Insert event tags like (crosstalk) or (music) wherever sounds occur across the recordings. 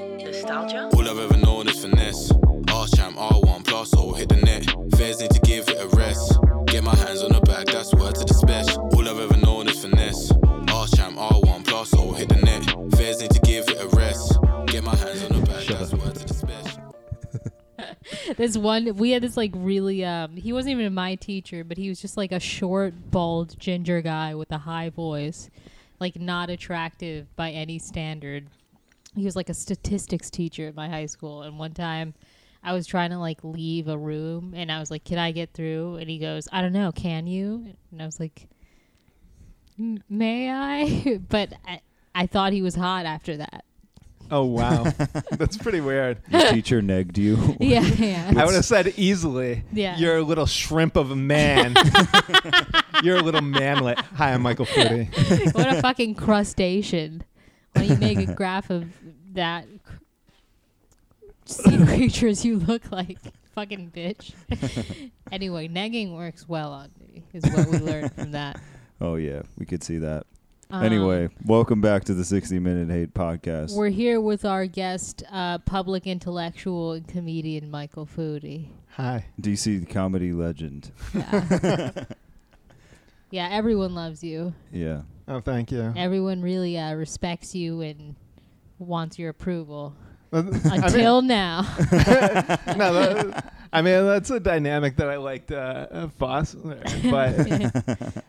Nostalgia? All I've ever known is finesse. R-champ, R1, plus, so hit the net. Fairs need to give it a rest. Get my hands on the bag, that's word to the special. All I've ever known is finesse. R-champ, R1, plus, so hit the net. Fairs need to give it a rest. Get my hands on the bag, that's word to the special. This one, we had this like really, um, he wasn't even my teacher, but he was just like a short, bald, ginger guy with a high voice, like not attractive by any standard. He was like a statistics teacher at my high school. And one time I was trying to like leave a room and I was like, can I get through? And he goes, I don't know, can you? And I was like, "M- may I? (laughs) but I, I thought he was hot after that. (laughs) Oh (laughs) wow, that's pretty weird. Your teacher (laughs) negged you. (laughs) Yeah, yeah. I would have said easily. Yeah. You're a little shrimp of a (laughs) man. You're a little manlet. Hi, I'm Michael Footy. what (laughs) a fucking crustacean. When you make (laughs) a graph of that cr- (laughs) sea creatures you look like, fucking (laughs) bitch. anyway, negging works well on me, is what we learned (laughs) from that. Oh yeah, we could see that. Um, anyway, welcome back to the 60 Minute Hate Podcast. We're here with our guest, uh, public intellectual and comedian Michael Foodie. Hi. DC comedy legend. Yeah. (laughs) yeah, everyone loves you. Yeah. Oh, thank you. Everyone really uh, respects you and wants your approval. Well, th- Until now. I mean, (laughs) no, that- I mean that's a dynamic that I liked uh, uh, foster, but it,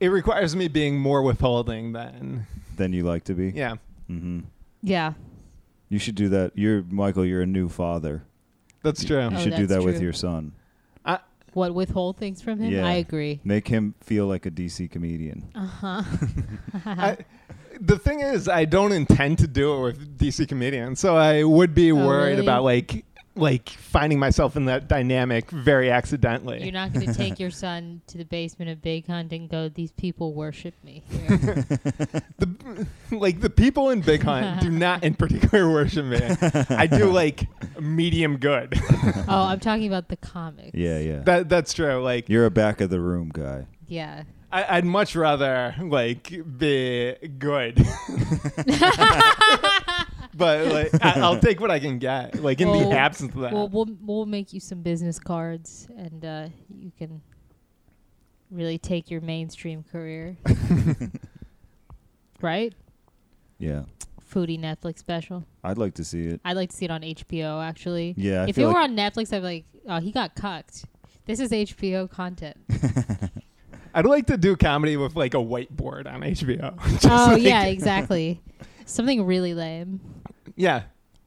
it requires me being more withholding than Then you like to be. yeah. Mm-hmm. (laughs) yeah. You should do that. You're Michael. You're a new father. That's true. You Oh, should do that's that with true. your son. What withhold things from him? Yeah. I agree. Make him feel like a DC comedian. Uh huh. I, the thing is, I don't intend to do it with DC comedians, so I would be Oh, worried really? about like like finding myself in that dynamic very accidentally. You're not going to take (laughs) your son to the basement of Big Hunt and go, these people worship me. (laughs) here." the (laughs) like the people in Big (laughs) Hunt do not in particular worship me. I do like medium good. oh, I'm talking about the comics. Yeah, yeah. that that's true. Like You're a back of the room guy. Yeah. I, I'd much rather like be good. (laughs) (laughs) but like I, I'll take what I can get. Like in Well- the absence of that. Well, we'll we'll make you some business cards, and uh, you can really take your mainstream (laughs) career. right? Yeah. Foodie Netflix special. I'd like to see it. I'd like to see it on HBO. Actually, Yeah. I if it feel were like on Netflix, I'd be like, oh, he got cucked. This is HBO content. I'd like to do comedy with like a whiteboard on HBO. (laughs) Just oh like- yeah, exactly. Something really lame. Yeah.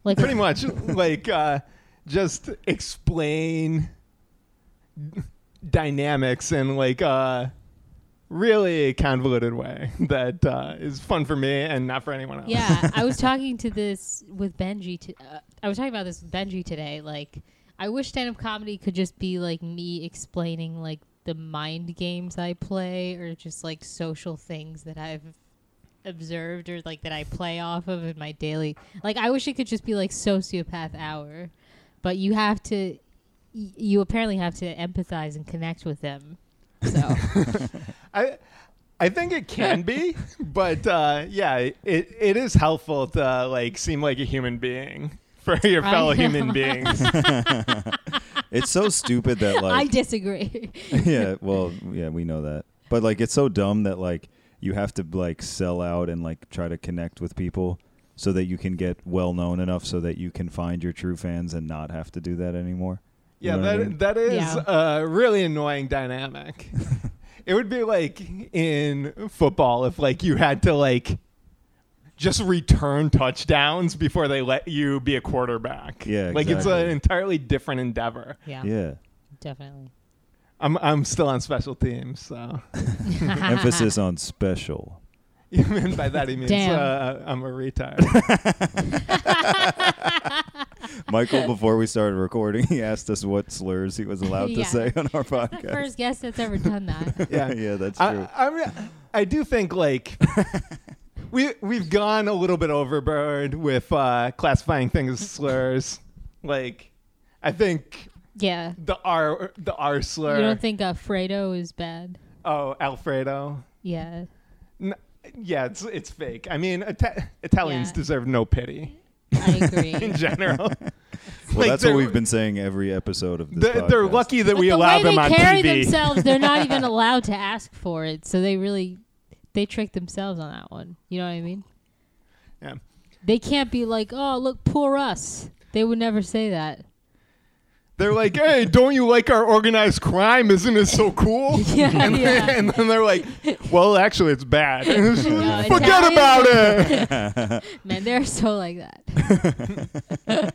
Like Pretty much like uh just explain dynamics in like a really convoluted way that uh, is fun for me and not for anyone (laughs) else. yeah, I was talking to this with Benji. To, uh, I was talking about this with Benji today. Like, I wish stand-up comedy could just be like me explaining like the mind games I play, or just like social things that I've observed, or like that I play off of in my daily. Like, I wish it could just be like sociopath hour, but you have to. y- You apparently have to empathize and connect with them. So I I think it can (laughs) be, but uh, yeah, it it is helpful to uh, like seem like a human being for your I fellow know. human beings. it's so stupid that (laughs) like I disagree. (laughs) (laughs) yeah, well, yeah, we know that. But like it's so dumb that like you have to like sell out and like try to connect with people so that you can get well known enough so that you can find your true fans and not have to do that anymore. You Yeah, know what I mean? that that is Yeah. a really annoying (laughs) dynamic. it would be like in football if like you had to like just return touchdowns before they let you be a quarterback. Yeah, like it's exactly. an entirely different endeavor. yeah, yeah. (laughs) definitely. I'm I'm still on special teams, so (laughs) (laughs) Emphasis on special. you mean by that he means Damn. uh, I'm a retard. (laughs) Michael, before we started recording, (laughs) he asked us what (laughs) slurs he was allowed Yeah. to say on (laughs) our the podcast. first guest that's ever done (laughs) that. Yeah. (laughs) yeah, that's true. I, I, mean, I do think (laughs) like we we've gone a little bit overboard with uh, classifying things as slurs. Like, I think yeah. the R the R slur. You don't think uh, Fredo is bad? oh, Alfredo. Yeah. N- yeah, it's it's fake. I mean, Ita- Italians Yeah. deserve no pity. (laughs) I (laughs) in agree. general. (laughs) Well, Like, that's what they're- we've been saying every episode of this. They're, they're podcast. lucky that But we the allow way them they on carry TV. themselves, they're not (laughs) even allowed to ask for it. So they really, they trick themselves on that one. You know what I mean? Yeah. They can't be like, oh, look, poor us. They would never say (laughs) that. (laughs) They're like, hey, don't you like our organized crime? Isn't it (laughs) so cool? Yeah, and, yeah. (laughs) and then they're like, well, actually, it's bad. (laughs) No, Forget Italians- about it. Man, they're so like that.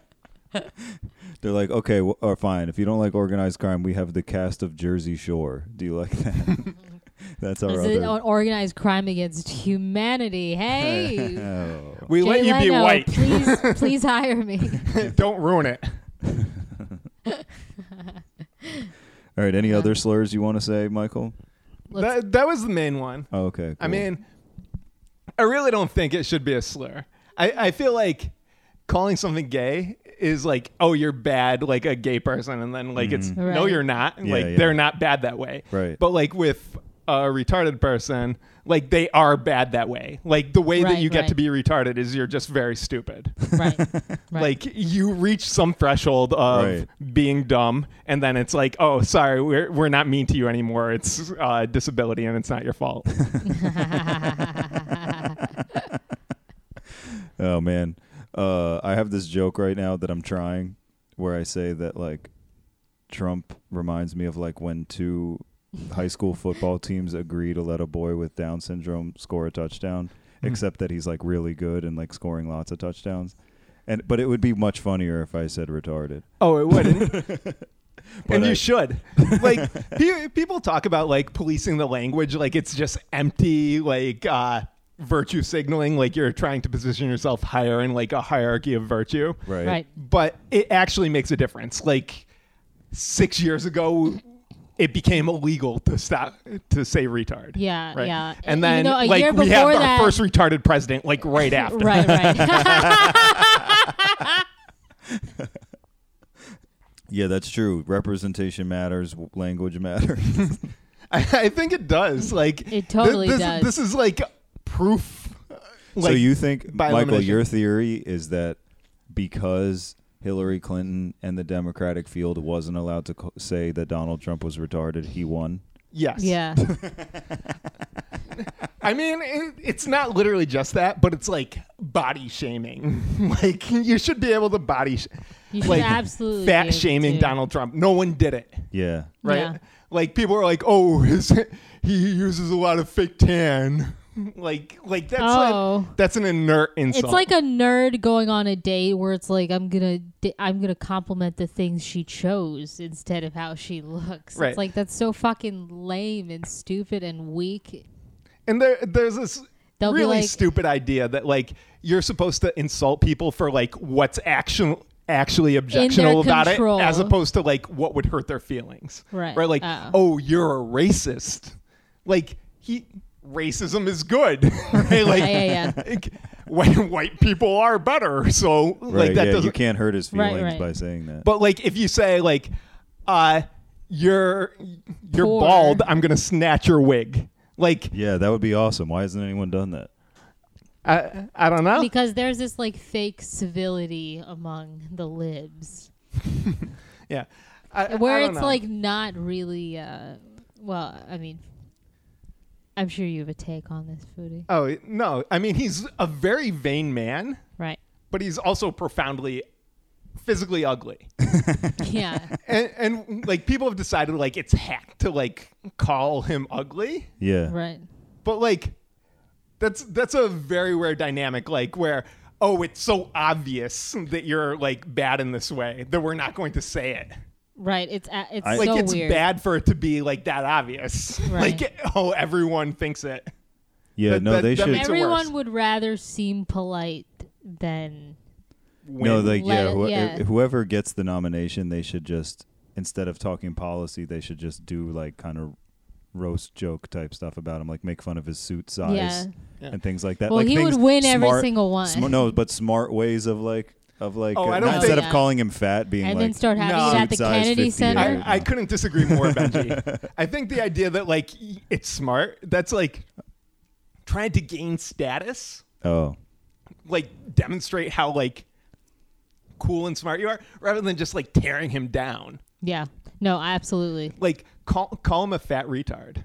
They're like, okay, well, or fine. If you don't like organized crime, we have the cast of Jersey Shore. Do you like that? (laughs) that's our It's other. an organized crime against humanity. (laughs) Hey, (laughs) Oh. We Jay let you be Leno, white. please, (laughs) please hire me. don't ruin it. All right. Any other slurs you want to say, Michael? (laughs) Let's- That, that was the main one. Oh, okay. I cool. mean, I really don't think it should be a slur. I, I feel like calling something gay is like, oh, you're bad, like a gay person. And then, like, it's no, Mm-hmm. Right. you're not. Yeah, like, yeah. they're not bad that way. Right. But, like, with a retarded person, like, they are bad that way. Like, the way Right, that you get right. to be retarded is you're just very stupid. (laughs) right, right. (laughs) Like, you reach some threshold of Right. being dumb. And then it's like, oh, sorry, we're, we're not mean to you anymore. It's uh, disability and it's not your fault. (laughs) Oh man, uh, I have this joke right now that I'm trying, where I say that like Trump reminds me of like when two high school football teams agree to let a boy with Down syndrome score a touchdown, except that he's like really good and like scoring lots of touchdowns. And but it would be much funnier if I said retarded. Oh, it would. (laughs) But and I- you (laughs) should. Like pe- people talk about like policing the language, like it's just empty, like uh, virtue signaling, like you're trying to position yourself higher in like a hierarchy of virtue. Right. right. But it actually makes a difference. Like six years ago, it became illegal to stop to say retard. Yeah, Right? yeah. And You then know, a year like we have before our that- first retarded president like (laughs) right after. (laughs) (laughs) Right, right. Yeah, that's true. Representation matters. w- Language matters. I, I think it does. Like It totally this, does. This is like proof. so like, you think, by Michael, elimination. your theory is that because Hillary Clinton and the Democratic field wasn't allowed to co- say that Donald Trump was retarded, he won. (laughs) yes. yeah, I mean, it, it's not literally just that, but it's like body shaming. (laughs) like you should be able to body, sh- you should like absolutely be fat able shaming to. Donald Trump. No one did it, Yeah. right? Yeah. Like people are like, oh, (laughs) his, he uses a lot of fake tan. (laughs) like, like that's a- Oh. that's an inert It's insult. like a nerd going on a date where it's like I'm gonna di- I'm gonna compliment the things she chose instead of how she looks. Right. It's like that's so fucking lame and stupid and weak. And there, there's this They'll be really like- stupid idea that like you're supposed to insult people for like what's action actually objectionable about control. it, as opposed to like what would hurt their feelings. Right. Right. Like, Oh. oh, you're a racist. Like he, racism is good. (laughs) right. (laughs) Like, Yeah, yeah, yeah. (laughs) like, when white people are better, so Right. like that yeah. doesn't You can't hurt his Right, feelings right. by saying that. but like if you say like uh you're you're Poor. bald, I'm gonna snatch your wig. Like yeah, that would be awesome. Why hasn't anyone done that? I I don't know. Because there's this like fake civility among the libs, Yeah. I, I where don't it's know. like not really. Uh, well, I mean, I'm sure you have a take on this, foodie. oh no, I mean he's a very vain man, Right? but he's also profoundly physically ugly. (laughs) Yeah. and and like people have decided like it's hack to like call him ugly, Yeah. right. but like that's that's a very rare dynamic like where oh it's so obvious that you're like bad in this way that we're not going to say it. Right. It's a it's I- so Like it's weird. bad for it to be like that obvious. (laughs) Right. Like oh everyone thinks it. Yeah. That- no, that- they that should. makes it worse. Everyone would rather seem polite than no, When- like yeah, Let- whoe- yeah. Whoever gets the nomination, they should just instead of talking policy, they should just do like kind of roast joke type stuff about him, like make fun of his suit size Yeah. Yeah. and things like that. Well, like he would things win every smart- single one. sm- no, but smart ways of like of like Oh, uh, I don't not- think- instead of Yeah. calling him fat, being and like then start having No. it at the Suit size Kennedy 58. Center. I, I couldn't disagree (laughs) more, Benji. I think the idea that like y- it's smart, that's like trying to gain status, oh like demonstrate how like cool and smart you are, rather than just like tearing him down. Yeah. No, absolutely. Like call call him a fat (laughs) retard.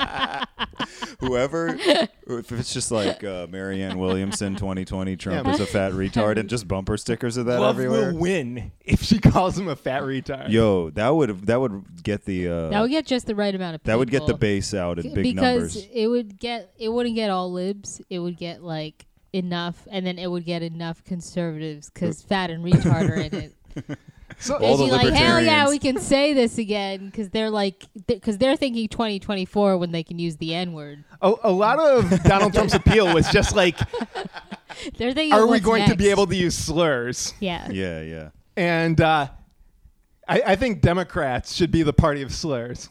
(laughs) Whoever, if it's just like uh, Marianne Williamson 2020, Trump Yeah. is (laughs) a fat retard, and just bumper stickers of that Love everywhere. will win if she calls him a fat retard. Yo, that would that would get the uh, That would get just the right amount of people. that would get the base out in big because numbers. it would get it wouldn't get all libs. It would get like enough, and then it would get enough conservatives because fat and retard are in it. So, All They'd the be like, hell yeah, libertarians." we can say this again because they're like because they're thinking 2024 when they can use the N word. a, a lot of Donald Trump's appeal was just like, They're thinking, are we "What's going to be next?" able to use slurs? Yeah. Yeah, yeah. And uh, I, I think Democrats should be the party of slurs.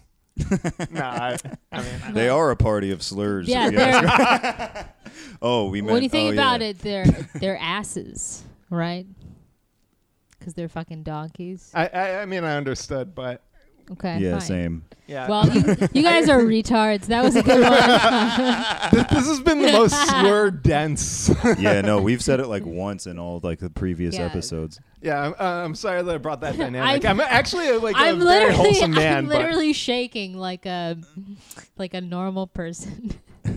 nah, I, I mean, They are a party of slurs. Yeah, if you ask they're- (laughs) me. (laughs) Oh, we meant. what do you think oh, about yeah. it? They're they're asses, right? Because they're fucking donkeys. I, I, I mean, I understood, but Okay. Yeah, fine. same. yeah. Well, you, you guys are retards. That was a good (laughs) one. this, this has been (laughs) the most slur dense. (laughs) Yeah, no, we've said it like once in all like the previous Yeah. episodes. yeah, I'm, uh, I'm sorry that I brought (laughs) that dynamic. I'm- I'm, actually uh, like a I'm very literally, wholesome man, I'm but literally shaking like a like a normal person. (laughs)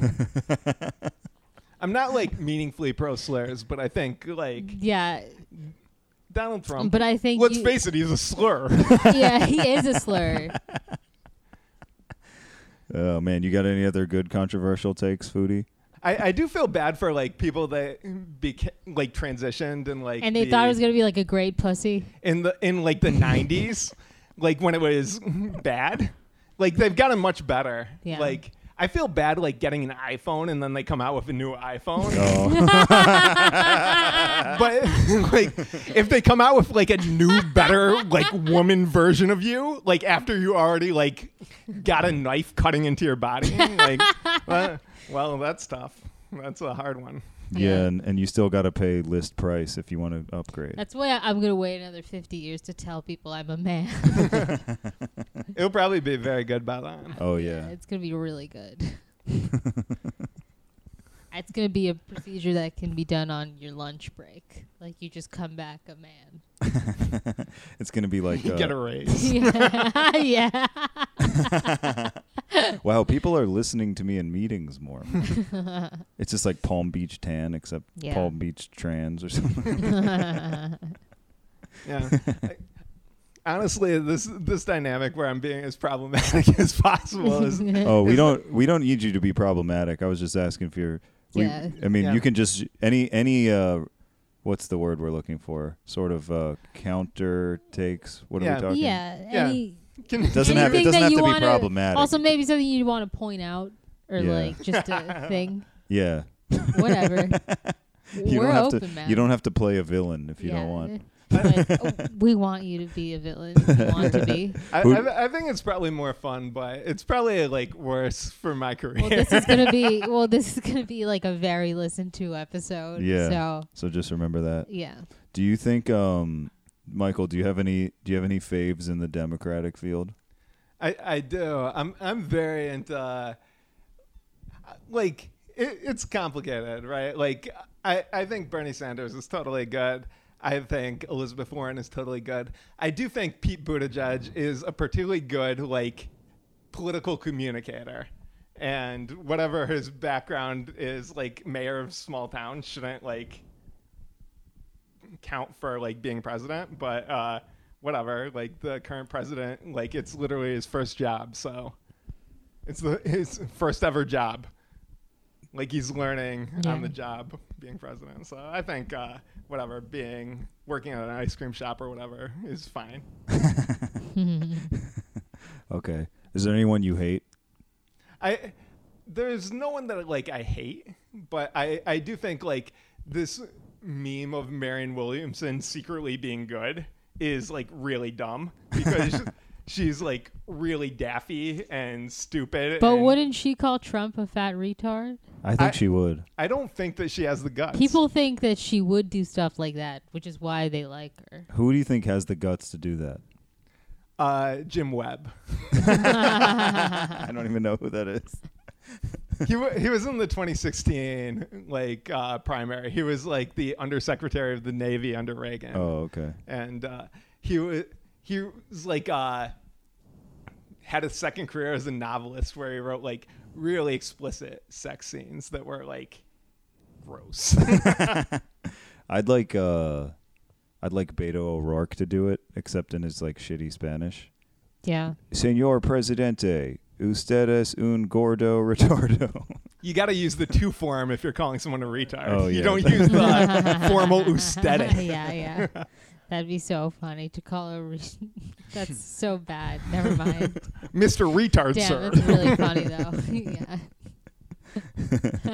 I'm not like meaningfully pro slurs. But I think like yeah, Donald Trump. but I think Um, let's you- face it, he's a slur. (laughs) (laughs) yeah, he is a slur. Oh man, you got any other good controversial (laughs) takes, foodie? I, I do feel bad for like people that beca- like transitioned and like And they the- thought it was gonna be like a great pussy. in the in like the 90s like when it was bad like they've gotten much better Yeah. like i feel bad like getting an iphone and then they come out with a new iphone Oh, (laughs) but (laughs) like if they come out with like a new better like woman version of you like after you already like got a knife cutting into your body like uh, well that's tough that's a hard one yeah, and, and you still got to pay list price if you want to upgrade. That's why I'm gonna wait another 50 years to tell people I'm a man. it'll probably be very good by then oh yeah. (laughs) it's gonna be really good. (laughs) it's gonna be a procedure that can be done on your lunch break. Like you just come back a man. (laughs) it's gonna be like uh, get a raise yeah. yeah. wow, people are listening to me in meetings (laughs) more. it's just like Palm Beach tan, except Yeah. Palm Beach trans or something. (laughs) Yeah. I- Honestly, this this dynamic where I'm being as problematic (laughs) as possible (laughs) is oh, we don't we don't need you to be problematic. I was just asking if you're. We, Yeah. I mean, Yeah. you can just any any uh, what's the word we're looking for? Sort of uh, counter takes. What are Yeah. we talking? Yeah. Any, can, Doesn't have it Anything that doesn't have to you be wanna- problematic. also maybe something you'd want to point out or Yeah. like just (laughs) a thing. yeah. Whatever. (laughs) You We're don't have open, to. man. You don't have to play a villain if you Yeah. don't want. But, oh, we want you to be a villain. if You want to (laughs) be. I, Who- I, I think it's probably more fun, but it's probably like worse for my career. Well, (laughs) this is gonna be. (laughs) Well, this is gonna be like a very listened to episode. Yeah. So So just remember that. yeah. Do you think, um, Michael? Do you have any? Do you have any faves in the Democratic field? I, I do. I'm I'm very into uh, like it, it's complicated, right? Like I I think Bernie Sanders is totally good. I think Elizabeth Warren is totally good. I do think Pete Buttigieg is a particularly good like political communicator. And whatever his background is, like mayor of small town, shouldn't like count for like being president, but uh, whatever. Like the current president, like it's literally his first job, so it's the his first ever job. Like he's learning Yeah. on the job being president. So I think uh, whatever being working at an ice cream shop or whatever is fine. Okay. Is there anyone you hate? I there's no one that like I hate, but I I do think like this meme of Marion Williamson secretly being good is like really dumb because she's like really daffy and stupid. But and wouldn't she call Trump a fat retard? I think I- she would. I don't think that she has the guts. People think that she would do stuff like that, which is why they like her. Who do you think has the guts to do that? (laughs) uh Jim Webb. I don't even know who that is. he, wa he was in the 2016 like uh, primary. He was like the undersecretary of the Navy under Reagan. Oh, okay. and uh, he was he was like uh, had a second career as a novelist where he wrote like really explicit sex scenes that were like gross. (laughs) I'd like uh I'd like Beto O'Rourke to do it, except in his like shitty Spanish. Yeah. Senor Presidente, ustedes un gordo (laughs) retardo. you got to use the two form if you're calling someone a retard. Oh, You yeah. don't use (laughs) the formal usted. Uh-huh. yeah, yeah. That'd be so funny to call a. Re- (laughs) that's so bad. Never mind. Mr. Retard, Damn, sir. that's really funny though.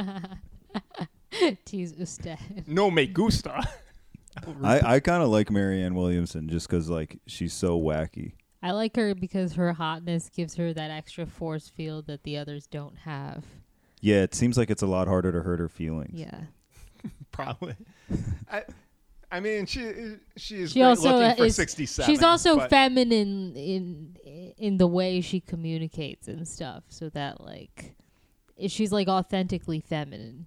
(laughs) yeah. (laughs) Tease usted. No me (laughs) gusta. I, I kind of like Marianne Williamson just because like she's so wacky. I like her because her hotness gives her that extra force field that the others don't have. Yeah, it seems like it's a lot harder to hurt her feelings. Yeah. Probably. I, I mean, she she is She great also looking for is. 67. she's also but- feminine in in the way she communicates and stuff, so that like she's like authentically feminine,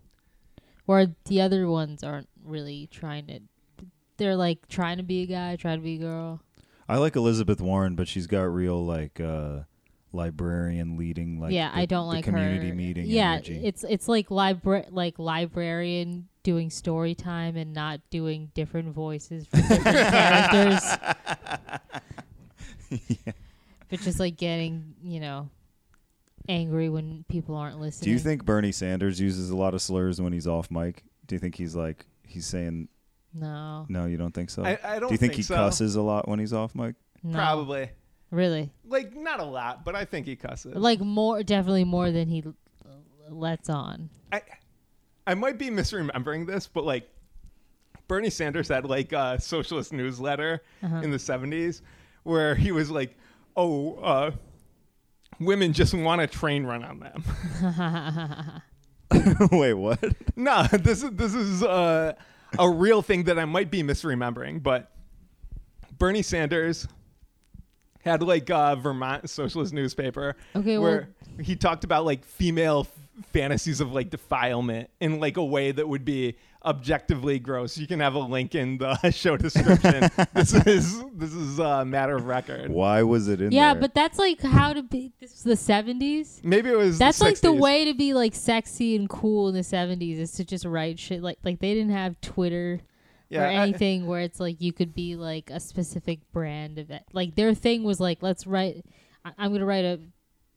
where the other ones aren't really trying to. They're like trying to be a guy, trying to be a girl. I like Elizabeth Warren, but she's got real like uh librarian leading like yeah, the- I don't the like community her. meeting. Yeah, energy. it's it's like libra- like librarian doing story time and not doing different voices for (laughs) different characters. But just like getting, you know, angry when people aren't listening. Do you think Bernie Sanders uses a lot of slurs when he's off mic? Do you think he's like he's saying No. no? You don't think so? I, I don't Do you think, he so. cusses a lot when he's off mic? No. Probably. Really. Like, not a lot, but I think he cusses. Like more definitely more than he l- lets on. I I might be misremembering this, but like Bernie Sanders had like a socialist newsletter in the 70s where he was like, "Oh, uh, women just want a train run on them." (laughs) (laughs) Wait, what? no, this is this is uh, a real thing that I might be misremembering, but Bernie Sanders had like a Vermont socialist newspaper Okay, well- where he talked about like female f- fantasies of like defilement in like a way that would be objectively gross. You can have a link in the (laughs) show description. (laughs) this is this is a matter of record. Why was it in Yeah, there? but that's like how to be this was the seventies. Maybe it was That's like the 60s. way to be like sexy and cool in the seventies is to just write shit like like they didn't have Twitter Yeah, or I- anything where it's like you could be like a specific brand of it. Like their thing was like let's write I- I'm gonna write a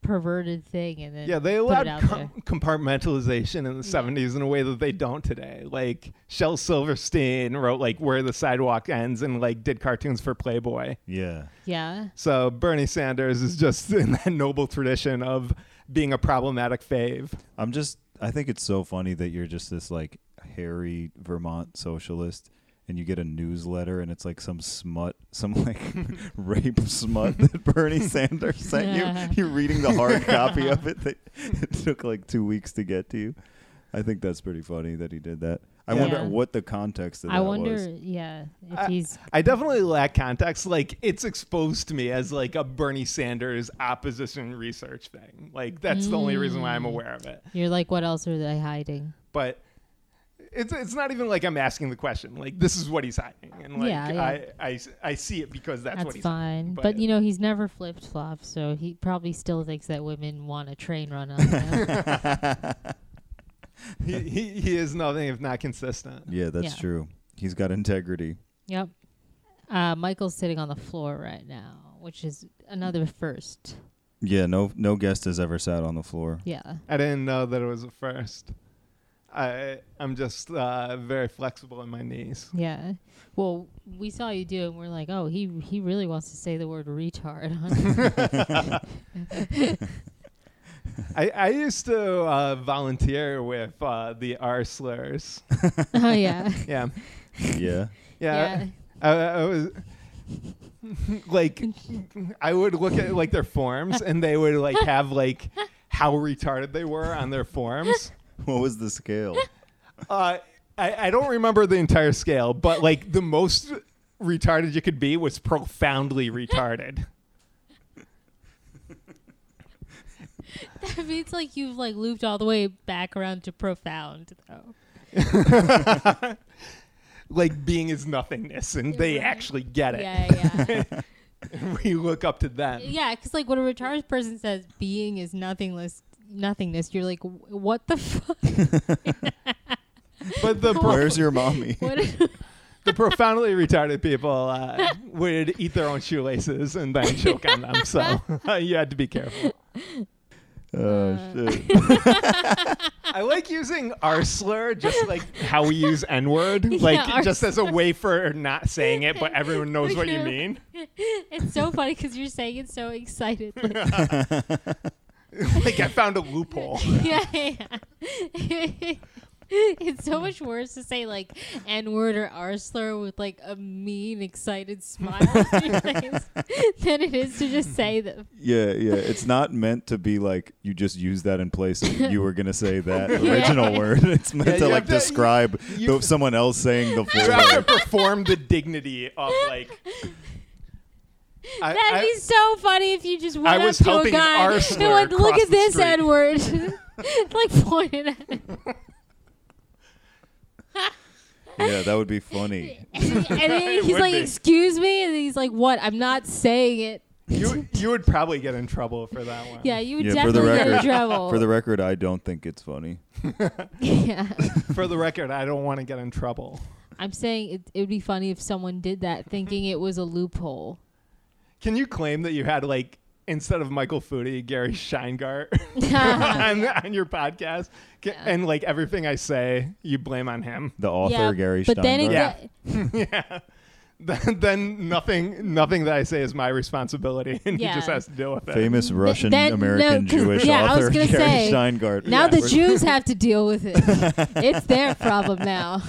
perverted thing and then Yeah, they put it allowed out there. com- compartmentalization in the 70s in a way that they don't today. Like Shel Silverstein wrote like Where the Sidewalk Ends and like did cartoons for Playboy. yeah, Yeah, So Bernie Sanders is just (laughs) in that noble tradition of being a problematic fave. I'm just. I think it's so funny that you're just this like hairy Vermont socialist, and you get a newsletter, and it's like some smut, (laughs) some like (laughs) rape smut that (laughs) Bernie Sanders sent Yeah. you. You're reading the hard (laughs) copy of it. That (laughs) it took like two weeks to get to you. I think that's pretty funny that he did that. I Yeah. wonder Yeah. what the context of that I wonder. was. (laughs) (laughs) Yeah, if I- he's I definitely lack context. Like it's exposed to me as like a Bernie Sanders opposition research thing. Like that's the only reason Mm. why I'm aware of it. you're like what else are they hiding? but it's it's not even like I'm asking the question. Like this is what he's hiding, and like Yeah, yeah. I, I I see it because that's, That's what he's fine, hiding. but, you know he's never flip flopped, so he probably still thinks that women want a train run on him. he, he he is nothing if not consistent. Yeah, that's Yeah. true. He's got integrity. Yep. Uh, Michael's sitting on the floor right now, which is another first. Yeah, no, no guest has ever sat on (laughs) the floor. Yeah. I didn't know that it was a first. I I'm just uh, very flexible in my knees. Yeah. Well, we saw you do it and we're like, oh, he he really wants to say the word retard. (laughs) on- I I used to uh, volunteer with uh, the R slurs. oh, yeah. (laughs) Yeah. Yeah, (laughs) yeah. I, I was like, I would look at like their forms, and they would like have like how retarded they were on their forms. what was the (laughs) scale? Uh, I, I don't remember the entire scale, but like the most retarded you could be was profoundly retarded. That means like you've like looped all the way back around to profound though. (laughs) like being is nothingness, and they Right. actually get it. Yeah, (laughs) yeah. Uh, we look up to them. yeah, cuz like when a retarded person says being is nothingless nothingness, you're like "Wh- what the (laughs) fuck? But the pro- Where's your mommy? (laughs) What? the profoundly retarded people uh, would eat their own shoelaces and then choke on them. So (laughs) you had to be careful. oh shit. I like using our slur just like how we use N (laughs) word, like our just as a way for not saying it, but (laughs) everyone knows what you Yeah. mean. (laughs) it's so funny cuz you're saying it so excited. (laughs) Like, (laughs) Like I found a loophole. (laughs) yeah, yeah. (laughs) it's so much worse to say like N word or R slur with like a mean, excited smile on (laughs) your face than it is to just say them. Yeah, yeah. It's not meant to be like you just use that in place of you were gonna (laughs) say that original word. It's meant Yeah, to you like have to- describe you- the- someone else (laughs) saying the full You have to word. perform the dignity of like. I, That'd I- be so funny if you just went I up was to a hoping an guy R and slur went, "Look crossed at the this street." N word," (laughs) like pointed at it, Yeah, that would be funny. and, then (laughs) It he's would like, be. "Excuse me," and he's like, "What? I'm not saying it." you you would probably get in trouble for that one. Yeah, you would Yeah, for the definitely get in record- trouble. For the record, I don't think it's funny. (laughs) yeah, For the record, I don't want to get in trouble. I'm saying it, it would be funny if someone did Mm-hmm. that, thinking it was a (laughs) loophole. Can you claim that you had like instead of Michael Foodie, Gary Scheingart Uh-huh. (laughs) on, on your podcast, Ca- and like everything I say, you blame on him? (laughs) The author Gary but then it Steinberg. go- Yeah. yeah. Then, then nothing, nothing that I say is my responsibility, (laughs) and Yeah. he just has to deal with it. famous Russian then- no, (laughs) American 'cause- Jewish yeah, I was author gonna Gary say, Steingart. now the We're- Jews have to deal with (laughs) it. it's their problem now.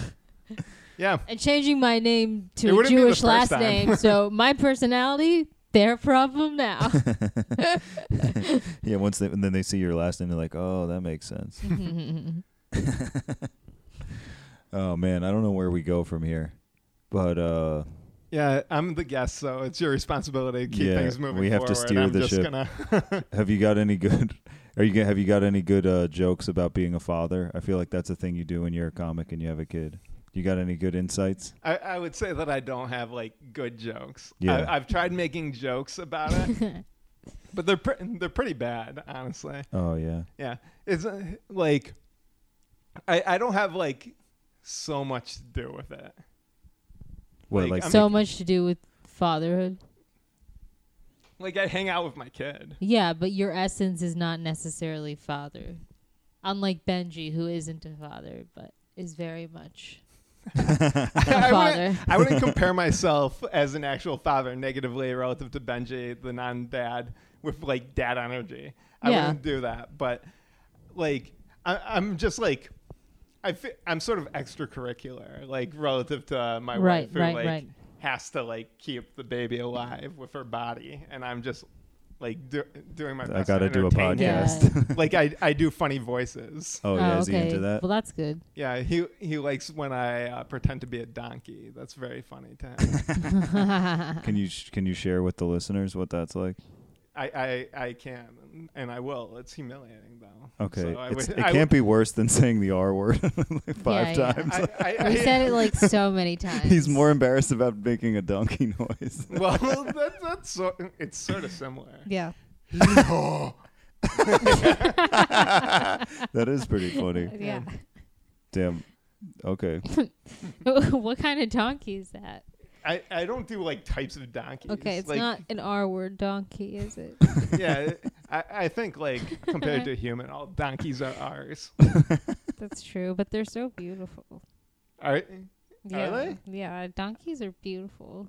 Yeah, And changing my name It to a wouldn't be the Jewish first last time. name, (laughs) so my personality, their problem now. Yeah, once they, and then they see your last name, they're like, "Oh, that makes (laughs) sense." (laughs) oh man, I don't know where we go from here, but uh, yeah. I'm the guest, so it's your responsibility to keep Yeah, things moving. we have to forward. steer I'm the just ship. Gonna, have you got any good? (laughs) Are you g- have you got any good uh, jokes about being a father? I feel like that's a thing you do when you're a comic and you have a kid. You got any good insights? I, I would say that I don't have like good jokes. Yeah. I, I've tried making jokes about it, but they're pre- they're pretty bad, honestly. Oh yeah, Yeah, it's uh, like I I don't have like so much to do with it. what Like, like, I'm- so much to do with fatherhood. Like I hang out with my kid. Yeah, but your essence is not necessarily father. Unlike Benji, who isn't a father, but is very much a (laughs) I father. wouldn't, I wouldn't compare myself as an actual father negatively relative to Benji, the non-dad, with like dad energy. I Yeah. wouldn't do that, but like I, I'm just like I fe- I'm sort of extracurricular, like relative to my Right, wife, who right, like right. has to like keep the baby alive with her body, and I'm just like do- doing my best. I got to to do a entertain him. Yeah. podcast. like I, I do funny voices. oh yeah, is he into that? Well, that's (laughs) good. Yeah, he he likes when I uh, pretend to be a donkey. That's very funny to (laughs) him. uh-huh. Can you sh- can you share with the listeners what that's like? I, I I can and I will. It's humiliating though. Okay, So I it's, would- it I can't be worse than saying the R word (laughs) like Yeah, five yeah. times. (laughs) would- I, I, We I- said it like so many times. He's more embarrassed about making a donkey (laughs) noise. Well, (laughs) that, that's so, it's sort of similar. Yeah. that is (laughs) pretty funny. Yeah. Damn. Okay. (laughs) what kind of donkey is that? I, I don't do like types of donkeys. Okay, it's Like, not an R word donkey, is (laughs) it? Yeah, I, I think like (laughs) compared to human, all donkeys are ours. That's true, but they're so beautiful. Are, Yeah. they? Yeah, donkeys are beautiful.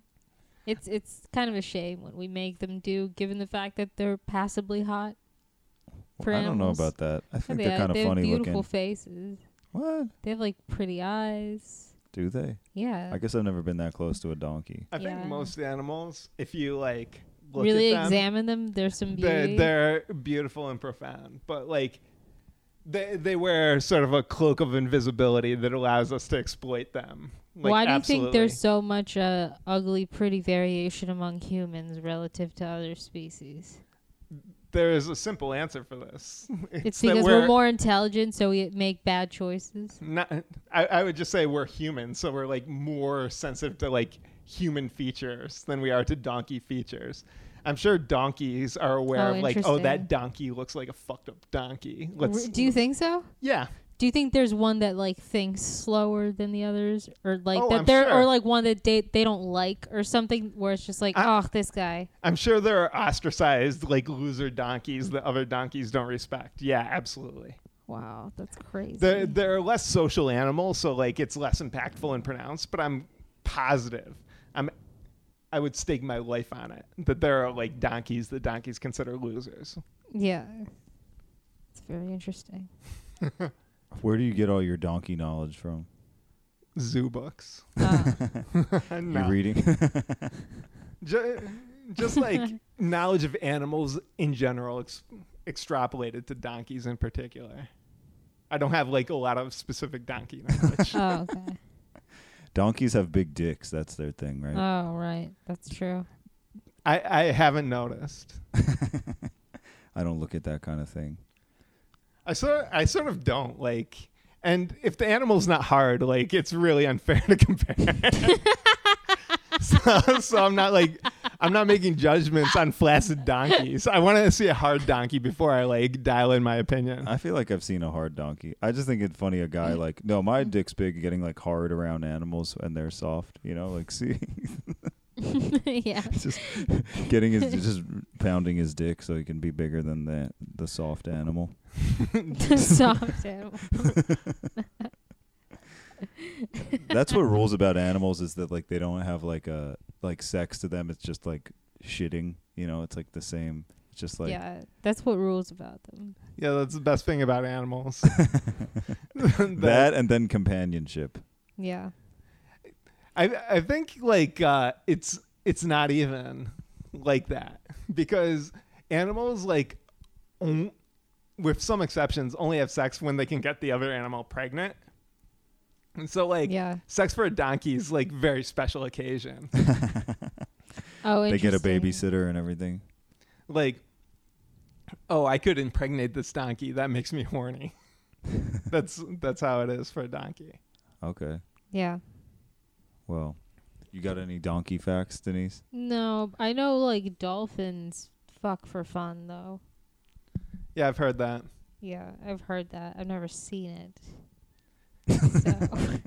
It's it's kind of a shame when we make them do, given the fact that they're passably hot. For I don't know animals. about that. I think they they are have- kind they of have funny beautiful looking. faces. What? They have like pretty eyes. Do they? Yeah. I guess I've never been that close to a donkey. I think Yeah. most animals, if you like look really at them, examine them. There's some beauty. They're, they're beautiful and profound, but like they they wear sort of a cloak of invisibility that allows us to exploit them. Like, Why do you think there's absolutely. so much uh, ugly, pretty variation among humans relative to other species? there is a simple answer for this. (laughs) It's that because we're, more intelligent, so we make bad choices. not I, I would just say we're human so we're like more sensitive to like human features than we are to donkey features i'm sure donkeys are aware Oh, of like oh that interesting. donkey looks like a fucked up donkey let's Do you think so? yeah Do you think there's one that like thinks slower than the others, or like Oh, that I'm they're, sure. or like one that they they don't like, or something where it's just like, I- oh, this guy. i'm sure there are ostracized like loser donkeys that other donkeys don't respect yeah absolutely Wow, that's crazy. they're, they're less social animals so like it's less impactful and pronounced but i'm positive i'm i would stake my life on it that there are like donkeys that donkeys consider losers yeah, it's very (laughs) interesting. Where do you get all your donkey knowledge from? zoo books. (laughs) Uh, You reading? (laughs) Ju- just like (laughs) knowledge of animals in general, ex- extrapolated to donkeys in particular. I don't have like a lot of specific donkey knowledge. oh, okay. Donkeys have big dicks. That's their thing, right? Oh, right. That's true. (laughs) I, I haven't noticed. I don't look at that kind of thing. I sort I sort of don't like. And if the animal's not hard, like it's really unfair (laughs) to compare. so, so I'm not like I'm not making judgments on flaccid donkeys. I want to see a hard donkey before I like dial in my opinion. I feel like I've seen a hard donkey. I just think it's funny a guy Mm. like, no, my dick's big getting like hard around animals and they're soft, you know, like (laughs) see (laughs) yeah. (laughs) just getting his just pounding his dick so he can be bigger than the the soft animal. Soft animal. That's what rules about animals is that like they don't have like a like sex to them. It's just like shitting, you know, it's like the same. It's just like yeah, that's what rules about them. Yeah, that's the best thing about animals. (laughs) that and then companionship. Yeah. I I think like uh, it's it's not even like that because animals like on, with some exceptions only have sex when they can get the other animal pregnant. And so like Yeah. sex for a donkey is like very special occasion. Oh, They get a interesting. babysitter and everything. like oh, I could impregnate this donkey. That makes me horny. that's that's how it is for a donkey. Okay. Yeah. Well, you got any donkey facts, Denise? No, I know like dolphins fuck for fun though. Yeah, I've heard that. Yeah, I've heard that. I've never seen it. (laughs) so oh,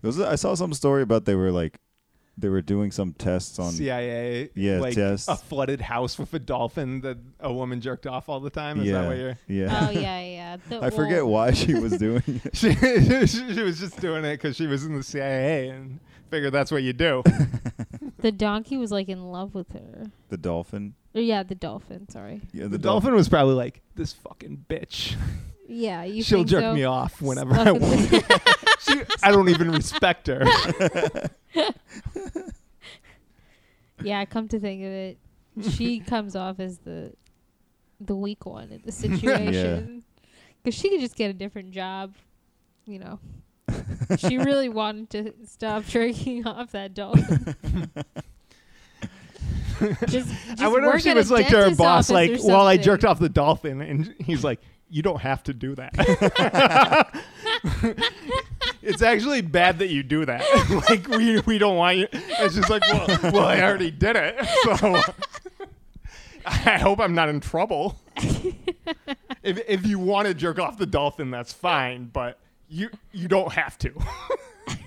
There was a- I saw some story about they were like they were doing some tests on CIA. Yeah, like test. a flooded house with a dolphin that a woman jerked off all the time. Is yeah, that what you're? (laughs) yeah. Oh yeah, yeah. The- (laughs) I forget well, why she was doing it. She, she, she was just doing it because she was in the CIA and figured that's what you (laughs) do. the donkey was like in love with her. The dolphin. Or, yeah, the dolphin, sorry. Yeah, the dolphin was probably like, "This fucking bitch. Yeah, you She'll think jerk so? me off (laughs) whenever Fuck I with want. the- she, I don't even (laughs) respect her." yeah, come to think of it, (laughs) she comes off as the the weak one in the situation. Cuz she could just get a different job, you know. she (laughs) really wanted to stop (laughs) jerking off that dolphin. just, just I wonder work if she at a was like to her dentist's boss, like, office or "Well, I something." jerked off the dolphin," and he's like, "You don't have to do that." (laughs) (laughs) it's actually bad that you do that. (laughs) like we we don't want you. It's just like, well, well, I already did it, (laughs) so I hope I'm not in trouble. if if you want to jerk off the dolphin, that's fine, but you you don't have to.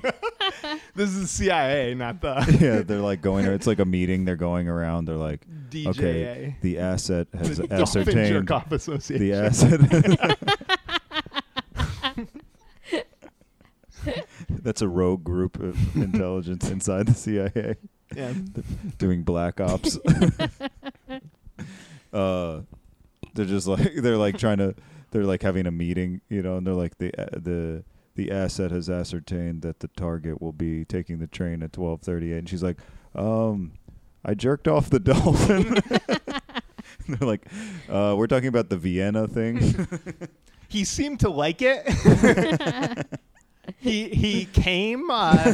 (laughs) this is CIA, not (laughs) the Yeah, they're like going. It's like a meeting. They're going around. They're (laughs) like, DJA. okay, the asset has The (laughs) Dolphin ascertained. Jerk Off Association. The asset. That's a rogue group of intelligence inside the CIA. Yeah. doing black ops. uh, they're just like they're like trying to they're like having a meeting, you know, and they're like the uh, the the asset has ascertained that the target will be taking the train at twelve thirty eight, and she's like, um, I jerked off the (laughs) dolphin. And they're like, uh, we're talking about the Vienna thing. (laughs) He seemed to like it. He he came. Uh,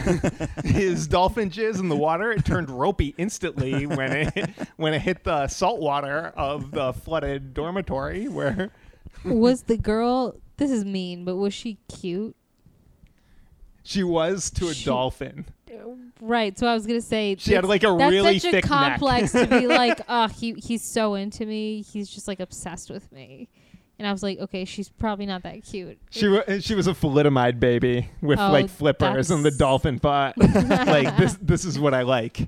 his dolphin jizz in the water. It turned ropey instantly when it when it hit the salt water of the flooded dormitory. Where was the girl? This is mean, but was she cute? she was to a She- dolphin. Right. So I was gonna say She had, that's- like, a that's really such thick a neck. complex to be like, oh, he he's so into me. He's just like obsessed with me. And I was like, okay, she's probably not that cute. (laughs) She wa- she was a thalidomide baby with Oh, like flippers and the that's- (laughs) dolphin butt. like this this is what I like.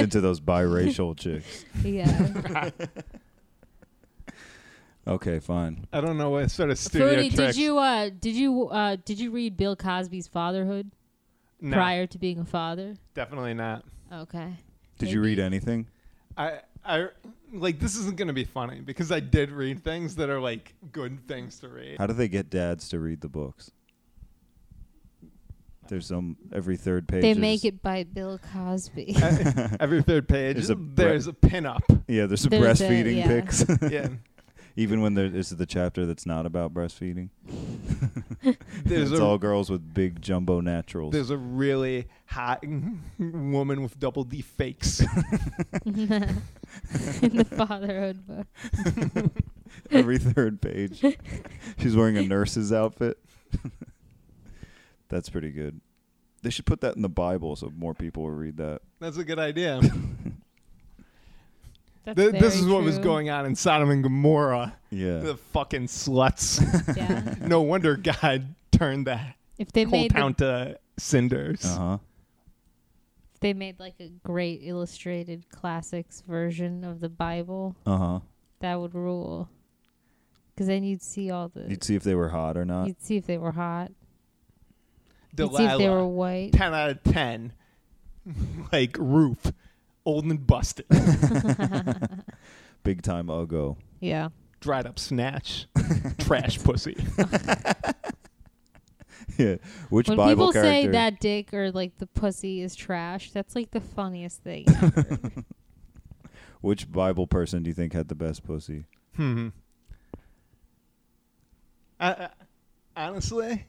(laughs) into those biracial chicks. (laughs) (laughs) yeah. Okay, fine. I don't know what sort of studio Fruity, did tricks- you uh, did you uh, did you read Bill Cosby's Fatherhood No, prior to being a father? definitely not. Okay. Did you Maybe. read anything? I I like this isn't gonna be funny because I did read things that are like good things to read. (laughs) How do they get dads to read the books? There's some every third page. they is- make it by Bill Cosby. E, Uh, Every third page There's there's a a, bre- (laughs) pinup. Yeah, there's some There's a- breastfeeding yeah. (laughs) pics. (laughs) Yeah, Even when there is the chapter that's not about breastfeeding. there's it's a all girls with big jumbo naturals. there's a really hot (laughs) woman with double D (laughs) (laughs) fakes. (laughs) (laughs) In the fatherhood book. (laughs) every third (laughs) page. She's wearing a nurse's outfit. (laughs) That's pretty good. They should put that in the Bible so more people will read that. That's a good idea. That's Th- this very is what was true. going on in Sodom and Gomorrah. Yeah. The fucking sluts. (laughs) (laughs) Yeah. no wonder God turned the If they whole made the town to cinders. Uh huh. they made like a great illustrated classics version of the Bible. Uh huh. That would rule. Because then you'd see all the. You'd see if they were hot or not. You'd see if they were hot. You'd see Delilah, if they were white. ten out of ten. (laughs) like roof, old and busted, Big time Ugo. Yeah. dried up (laughs) snatch, trash pussy. yeah. Which when Bible people character? say that dick or like the pussy is trash, that's like the funniest thing. (laughs) ever. Which Bible person do you think had the best pussy? Hmm. I, I, honestly,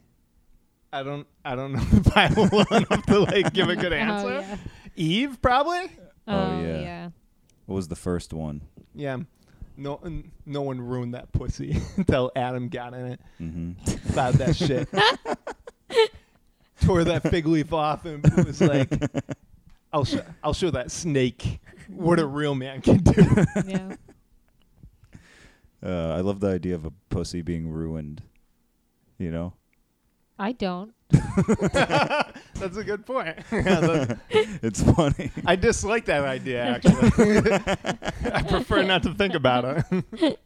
I don't. I don't know (laughs) the Bible well enough to like give a good answer. Oh, yeah. Eve probably. Oh, yeah. yeah. (laughs) What was the first one? Yeah. No, n- no one ruined that pussy (laughs) until Adam got in it, Mm-hmm. plowed that shit, tore that fig leaf off, and was like, "I'll show, I'll show that snake what a real man can do." (laughs) yeah. Uh, I love the idea of a pussy being ruined. You know, (laughs) I don't. That's a good point. (laughs) Yeah, that- it's funny. (laughs) I dislike that idea. Actually, (laughs) I prefer not to think about it.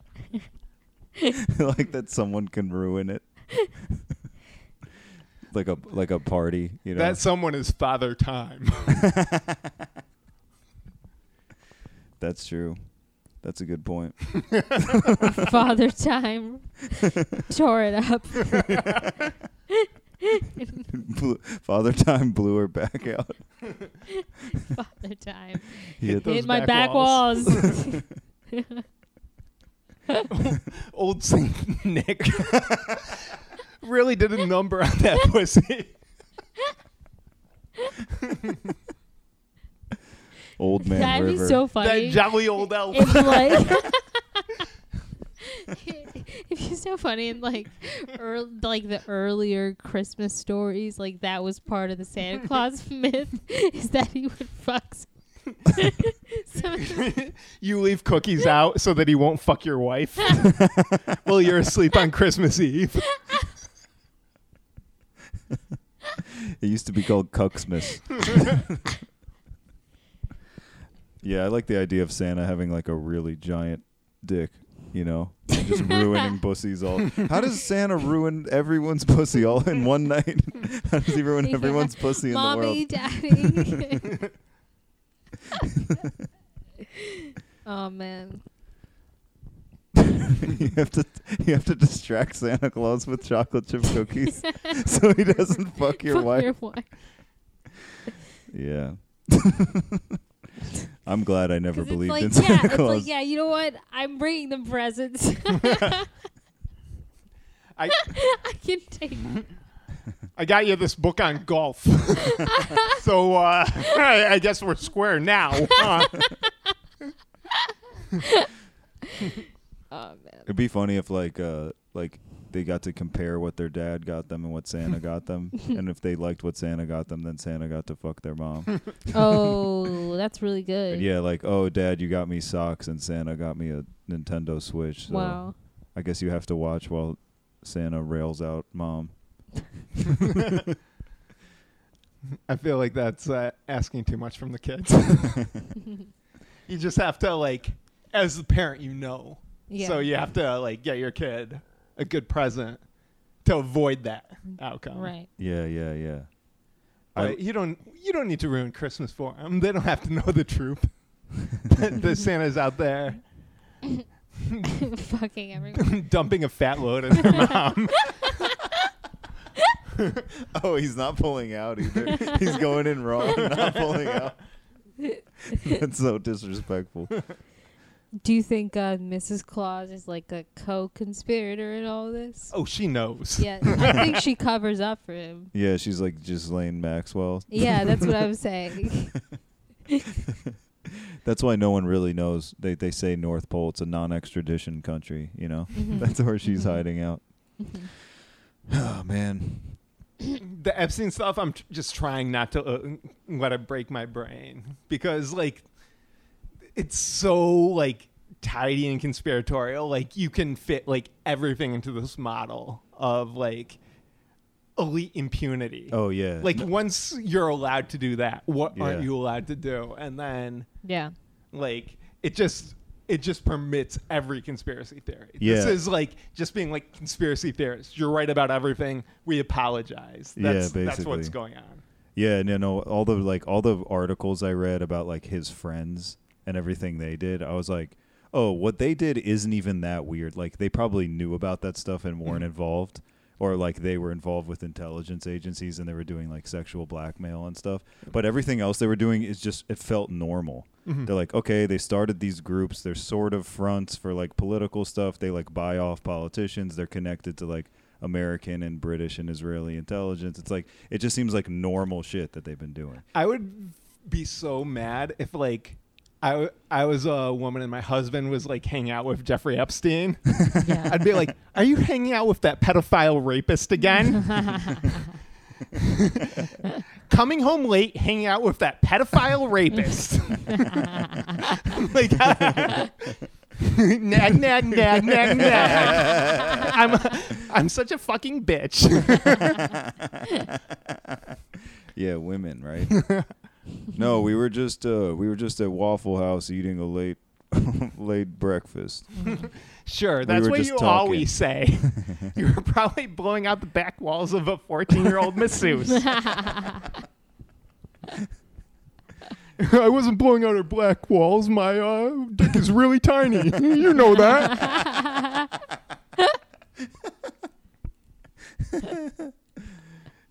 like that someone can ruin it. (laughs) like a like a party, you (laughs) know. That someone is father time. That's true. That's a good point. (laughs) Father Time tore it up. Blew- Father Time blew her back (laughs) out. (laughs) Father Time. (laughs) He hit the- Those Hit my back back, walls. walls. (laughs) Old Saint Nick (laughs) really did a number on (laughs) that pussy. old (laughs) man That'd river. be so That funny. jolly old elf. if (laughs) like (laughs) if you so funny in like earl like the earlier Christmas stories, like that was part of the (laughs) Santa Claus myth, is that he would fuck some- (laughs) some (laughs) of the- (laughs) you leave cookies out so that he won't fuck your (laughs) wife while you're asleep on Christmas Eve. (laughs) it used to be called Cucksmas. yeah, I like the idea of Santa having like a really giant dick, you know, and just (laughs) ruining pussies all. How does Santa ruin everyone's pussy all in one night? (laughs) How does he ruin Yeah. everyone's pussy in the world? mommy, daddy. (laughs) oh man. (laughs) you have to you have to distract Santa Claus with chocolate chip (laughs) cookies (laughs) so he doesn't fuck your Fuck wife. Your wife. yeah. (laughs) I'm glad I never (laughs) 'Cause believed in it's like, yeah, Santa it's Claus. like, yeah, you know what? I'm bringing them (laughs) presents. I, (laughs) I can take. I got you this book on golf. (laughs) so uh, (laughs) I, I guess we're square now. huh? Oh man. It'd be funny if like uh like they got to compare what their dad got them and what Santa got them, and if they liked what Santa got them, then Santa got to fuck their mom. Oh, that's really good. And yeah, like oh, dad, you got me socks, and Santa got me a Nintendo Switch. So Wow. I guess you have to watch while Santa rails out mom. (laughs) I feel like that's uh, asking too much from the kids. (laughs) you just have to like, as the parent, you know. Yeah. So you have to like get your kid a good present to avoid that outcome. Right. Yeah, yeah, yeah. But you don't you don't need to ruin Christmas for them. They don't have to know the truth. (laughs) that the Santa's out (laughs) there (laughs) (laughs) Fucking everyone. dumping a fat load on their mom. (laughs) Oh, he's not pulling out either. he's going in raw, and not pulling out. (laughs) That's so (laughs) disrespectful. Do you think uh, Mrs. Claus is like a co-conspirator in all this? oh, she knows. Yeah, I think (laughs) she covers up for him. Yeah, she's like Ghislaine Maxwell. Yeah, that's what I'm (laughs) saying. That's why no one really knows. They they say North Pole. It's a non-extradition country. You know, (laughs) that's where she's hiding out. (sighs) oh man, the Epstein stuff, I'm tr- just trying not to uh, let it break my brain because, like, it's so like tidy and conspiratorial. Like, you can fit like everything into this model of like elite impunity. Oh, yeah. Like, once you're allowed to do that, what aren't Yeah. you allowed to do? And then yeah. like it just it just permits every conspiracy theory. This Yeah. is like just being like conspiracy theorists. You're right about everything. We apologize. Yeah, That's that's what's basically. going on. yeah, no, no. All the like all the articles I read about like his friends and everything they did, I was like, oh, what they did isn't even that weird. Like they probably knew about that stuff and weren't involved, or like they were involved with intelligence agencies and they were doing like sexual blackmail and stuff. But everything else they were doing is just it felt normal. They're like, okay, they started these groups. They're sort of fronts for like political stuff. They like buy off politicians. They're connected to like American and British and Israeli intelligence. It's like it just seems like normal shit that they've been doing. I would be so mad if like I, w- I was a woman and my husband was like hanging out with Jeffrey Epstein. Yeah. I'd be like, "Are you hanging out with that pedophile rapist again?" Coming home late, hanging out with that pedophile rapist. (laughs) like, (laughs) nag, nag, nag, nag, nag. I'm, I'm such a fucking bitch. Yeah, women, right? (laughs) no, we were just uh we were just at Waffle House eating a late (laughs) late breakfast. sure, We that's were what just you talking. always (laughs) say. you were probably blowing out the back walls of a 14 year old (laughs) masseuse. I wasn't blowing out her black walls. My uh, dick is really tiny. (laughs) You know (laughs) that.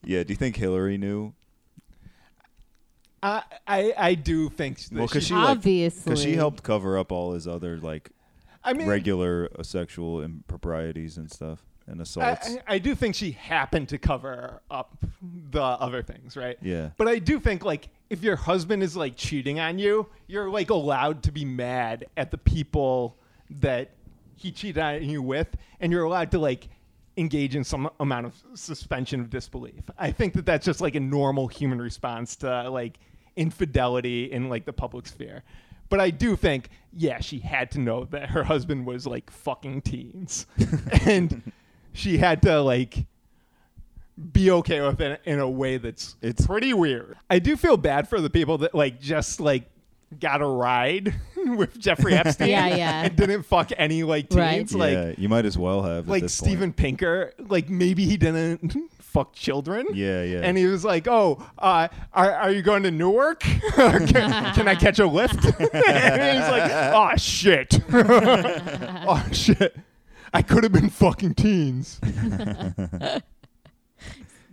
Yeah, do you think Hillary knew? I Uh, I, I do think that Well, 'cause she- she like Obviously. cuz she helped cover up all his other like I mean, regular uh, sexual improprieties and stuff and I, assaults. I, I do think she happened to cover up the other things, right? Yeah. But I do think like if your husband is like cheating on you, you're like allowed to be mad at the people that he cheated on you with, and you're allowed to like engage in some amount of suspension of disbelief. I think that that's just like a normal human response to like infidelity in like the public sphere. But I do think, yeah, she had to know that her husband was like fucking teens, (laughs) and she had to like be okay with it in a way that's It's- it's pretty weird. I do feel bad for the people that like just like got a ride (laughs) with Jeffrey Epstein. Yeah, yeah. And didn't fuck any like Right. teens. Like yeah, you might as well have at like this point. Steven Pinker, like maybe he didn't (laughs) fuck children. Yeah, yeah. And he was like, "Oh, uh, are, are you going to Newark? (laughs) can, can I catch a lift?" (laughs) and he's (laughs) like, "Oh shit! (laughs) oh shit! I could have been fucking (laughs) teens."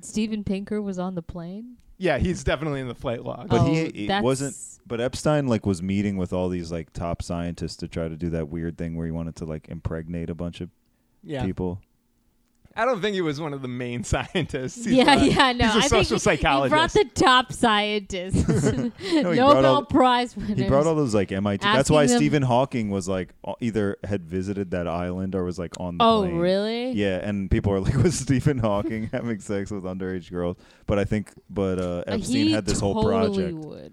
Steven Pinker was on the plane. Yeah, he's definitely in the flight log. But Oh, he it that's- wasn't. But Epstein like was meeting with all these like (clears throat) top scientists to try to do that weird thing where he wanted to like impregnate a bunch of yeah, people. I don't think he was one of the main (laughs) scientists. (laughs) He's yeah, not- yeah, no. He's a I think social he- psychologist. He brought the top scientists, (laughs) (laughs) No, he brought Nobel all- Prize winners. He brought all those like MIT. That's why Asking them- Stephen Hawking was like o- either had visited that island or was like on the oh, plane. really? Yeah, and people are like, (laughs) was Stephen Hawking (laughs) having sex with underage girls? But I think, but uh, Uh, Epstein he had this whole totally project. Would.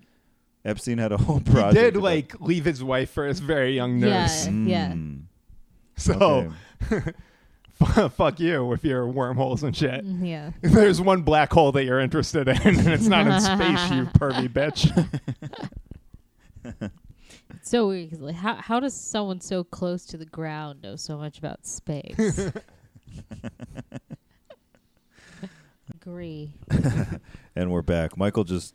Epstein had a whole he project. did about- like leave his wife for his very young nurse. Yeah, yeah. Oh. Mm, (laughs) So okay. (laughs) fu- fuck you if you're wormholes and shit. Mm, Yeah. (laughs) There's one black hole that you're interested in, and it's not in (laughs) space, you pervy bitch. It's so weird. 'cause, like, how how does someone so close to the ground know so much about (laughs) space? (laughs) Agree. and we're back. Michael just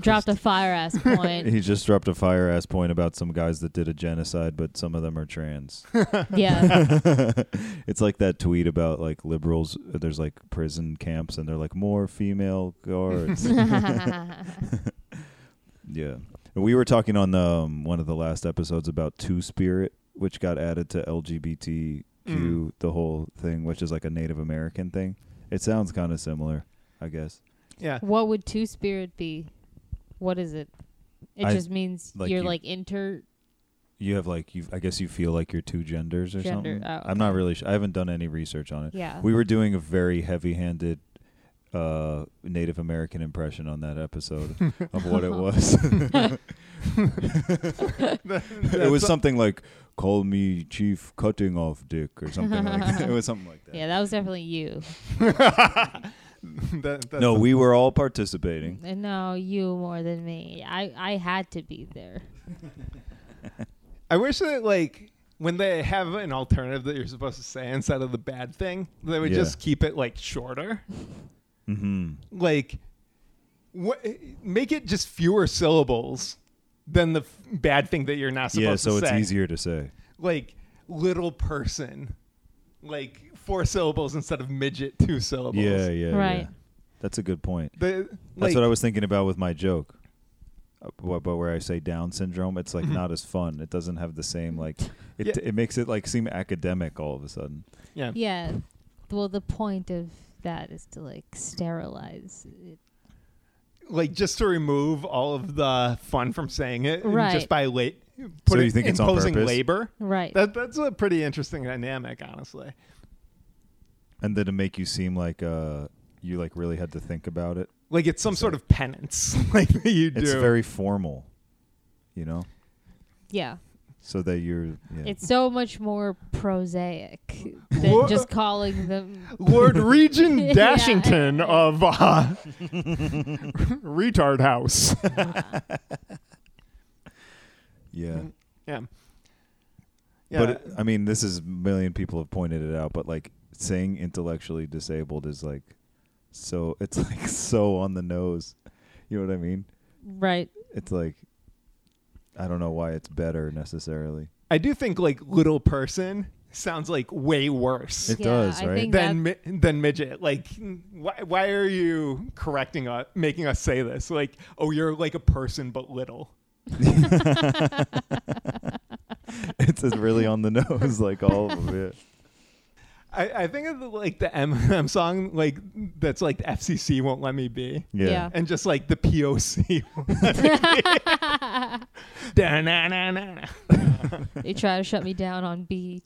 Dropped a fire (laughs) ass point. he just dropped a fire ass point about some guys that did a genocide, but some of them are trans. yeah. (laughs) it's like that tweet about like liberals. uh, There's like prison camps, and they're like more female (laughs) guards. (laughs) Yeah. And we were talking on um, one of the last episodes about Two Spirit, which got added to LGBTQ, Mm. the whole thing, which is like a Native American thing. It sounds kind of similar, I guess. Yeah. what would two spirit be? What is it? It I- just means like you're you- like inter. You have like you, I guess you feel like you're two genders or Gender, something. oh, I'm not really. Sh- I haven't done any research on it. Yeah. We were doing a very heavy-handed uh, Native American impression on that episode of what (laughs) it was. (laughs) it was something like "Call me Chief Cutting Off Dick" or something like that. It was something like that. yeah, that was definitely you. That- that's- No, we were all participating. And no, you more than me. I I had to be there. I wish that like when they have an alternative that you're supposed to say instead of the bad thing, they would Yeah. just keep it like shorter. Mm-hmm. Like, what? Make it just fewer syllables than the f- bad thing that you're not supposed Yeah, to say. so it's easier to say. Like little person, like four syllables instead of midget, two syllables. Yeah, yeah, Right. yeah. That's a good point. The, That's like, what I was thinking about with my joke. Uh, wh- But where I say Down syndrome, it's like not as fun. It doesn't have the same like. It Mm-hmm. Yeah. it makes it like seem academic all of a sudden. Yeah. Yeah. Well, the point of that is to like sterilize it. like just to remove all of the fun from saying it and Right. just by late So you think it's on imposing purpose? labor Right. that, that's a pretty interesting dynamic honestly And then to make you seem like uh you like really had to think about it. like it's some So- sort of penance (laughs) like that you do It's very formal, you know, yeah. so that you're. Yeah. It's so much more prosaic than Wha- just calling them. (laughs) (laughs) lord regent Yeah. dashington of uh, (laughs) retard (laughs) house yeah. yeah Mm-hmm. yeah But it- I mean, this is a million people have pointed it out, but like saying intellectually disabled is like so it's (laughs) like so on the nose. You know what I mean? Right. It's like I don't know why it's better necessarily. (laughs) i do think like little person sounds like way worse It Yeah, does, I right? think than mi- than midget. Like, why why are you correcting us, making us say this? Like, oh, you're like a person but little. it's just really on the (laughs) nose, like all of it. I, I think of the, like the Eminem song, like that's like the FCC won't let me be, Yeah. Yeah. and just like the (laughs) POC. won't let me be. Da-na-na-na-na. (laughs) They try to shut me down on BET.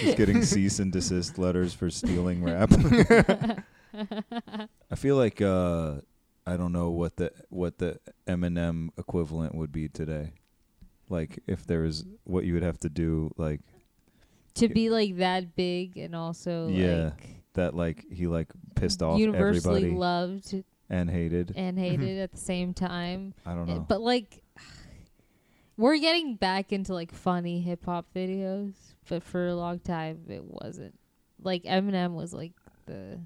Just getting cease and (laughs) desist letters for stealing rap. (laughs) I feel like uh I don't know what the what the Eminem equivalent would be today. Like if there was what you would have to do like (laughs) to be like that big and also Yeah. like that like he like pissed off universally everybody loved and hated. and hated at the same time. I don't Uh, know. But like, (sighs) we're getting back into like funny hip hop videos, but for a long time it wasn't. Like Eminem was like the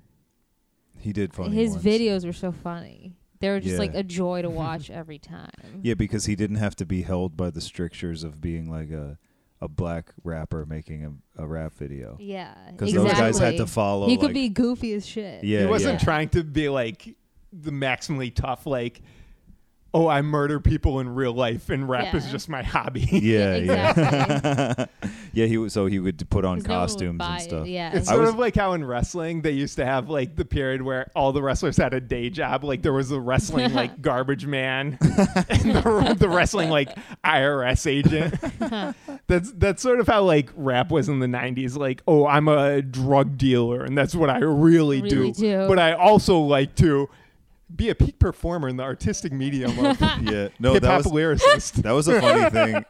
he did funny his ones. videos were so funny. They were just Yeah. like a joy (laughs) to watch every time. Yeah, because he didn't have to be held by the strictures of being like a a black rapper making a, a rap video. Yeah, Because E- exactly. those guys had to follow He could like- be goofy as shit. Yeah. he wasn't yeah. trying to be like the maximally tough, like oh, I murder people in real life and rap is Yeah. just my hobby. (laughs) (laughs) Yeah, exactly. yeah. yeah, he would so he would put on 'Cause no one would costumes buy and it, stuff. Yeah. It's I sort was- of like how in wrestling they used to have like the period where all the wrestlers had a day job. Like there was the wrestling (laughs) like garbage man and the, the wrestling like IRS (laughs) agent. that's that's sort of how like rap was in the '90s. Like, oh, I'm a drug dealer, and that's what I really, Really do. But I also like to be a peak performer in the artistic medium (laughs) of Yeah. (laughs) No, hip that hop was lyricist. that was a funny thing.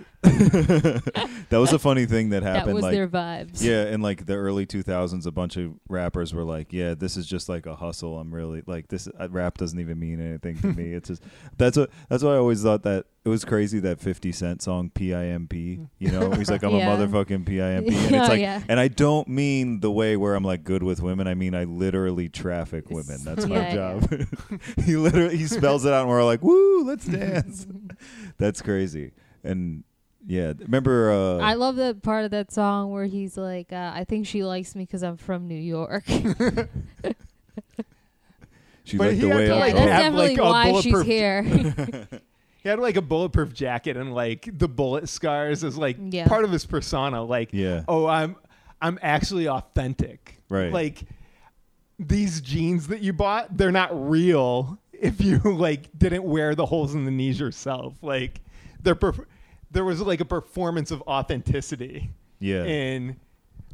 (laughs) that was a funny thing that happened. that was like, their vibes. Yeah, in like the early 2000s, a bunch of rappers were like, "Yeah, this is just like a hustle. I'm really like this uh, rap doesn't even mean anything to me. (laughs) It's just that's what that's why I always thought that it was crazy that 50 Cent song PIMP. You know, he's like, "I'm (laughs) Yeah. a motherfucking PIMP," (laughs) and Oh, it's like, yeah. and I don't mean the way where I'm like good with women. I mean I literally traffic women. That's my Yeah, yeah. job. (laughs) he literally he spells it out, and we're all like, "Woo, (laughs) let's dance." that's crazy, and. Yeah, remember? Uh, I love that part of that song where he's like, uh, "I think she likes me because I'm from New York." (laughs) she But liked he the had way to, I yeah, like, talk. that's have, definitely like, a why she's bulletproof- (laughs) here. (laughs) He had like a bulletproof jacket and like the bullet scars is like Yeah. part of his persona. Like, Yeah. oh, I'm I'm actually authentic. Right. Like these jeans that you bought, they're not real if you (laughs) like didn't wear the holes in the knees yourself. Like there perf- there was like a performance of authenticity Yeah. in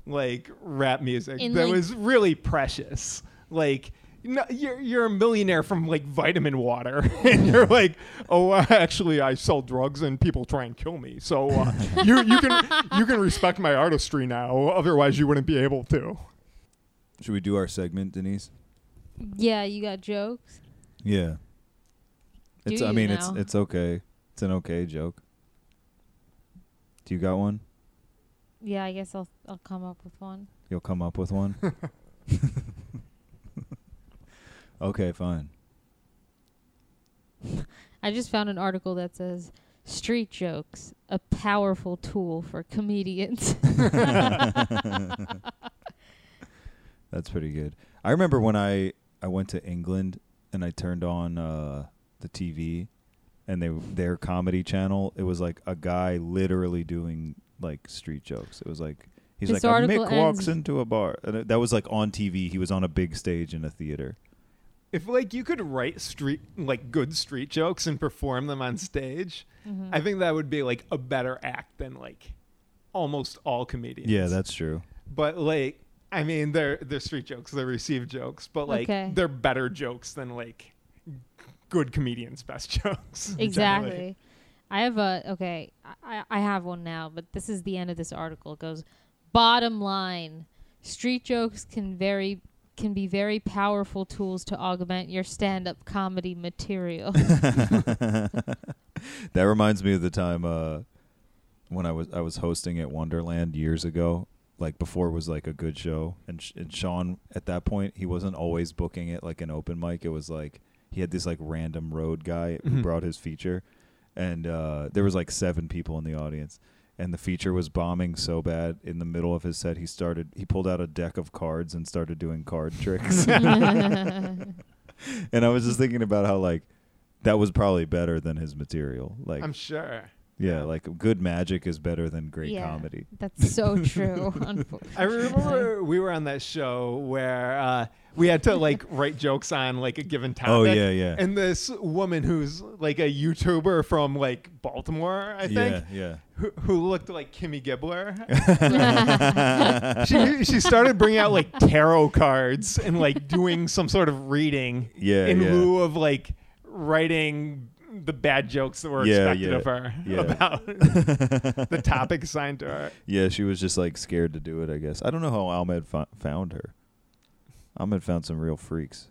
like rap music In, that like- was really precious. Like no, you're you're a millionaire from like vitamin water, (laughs) and you're like, oh, (laughs) uh, actually, I sell drugs and people try and kill me. So uh, you you can you can respect my artistry now. Otherwise, you wouldn't be able to. Should we do our segment, Denise? yeah, you got jokes. Yeah. It's. Do I you mean, now? it's it's okay. It's an okay joke. Do you got one? Yeah, I guess I'll I'll come up with one. You'll come up with (laughs) one. (laughs) okay, fine. I just found an article that says street jokes a powerful tool for (laughs) comedians. That's pretty good. I remember when I I went to England and I turned on uh, the TV and they their comedy channel. It was like a guy literally doing like street jokes. It was like he's This like a article Mick walks ends- into a bar. And it- that was like on TV. He was on a big stage in a theater. If like you could write street like good street jokes and perform them on stage, Mm-hmm. I think that would be like a better act than like almost all comedians. Yeah, that's true. but like I mean they're they're street jokes, they're received jokes, but like Okay. they're better jokes than like good comedians' best (laughs) jokes. generally. Exactly. I have a okay. I, I have one now, but this is the end of this article. It goes bottom line: street jokes can very can be very powerful tools to augment your stand-up comedy (laughs) material. That reminds me of the time uh, when I was I was hosting at Wonderland years ago, like before it was like a good show, and Sh- and Sean at that point he wasn't always booking it like an open mic. It was like he had this like random road guy who brought his feature, and uh, there was like seven people in the audience. And the feature was bombing so bad in the middle of his set, he started. He pulled out a deck of cards and started doing card tricks. (laughs) and I was just thinking about how like that was probably better than his material. Like I'm sure. yeah, like good magic is better than (laughs) great Yeah. comedy. That's so true. (laughs) unfortunately. I (laughs) remember we were on that show where uh, we had to (laughs) like write jokes on like a given topic. Oh, yeah, yeah. And this woman who's like a YouTuber from like Baltimore, I think, Yeah, who, who looked like Kimmy (laughs) Gibbler. she she started bringing out like tarot cards and like doing some sort of reading Yeah, in yeah. lieu of like writing the bad jokes that were Yeah, expected yeah, of her (laughs) yeah. (laughs) about the topic assigned to her. yeah, yeah. She was just like scared to do it. I guess I don't know how Ahmed fo- found her. Ahmed found some (laughs) real freaks.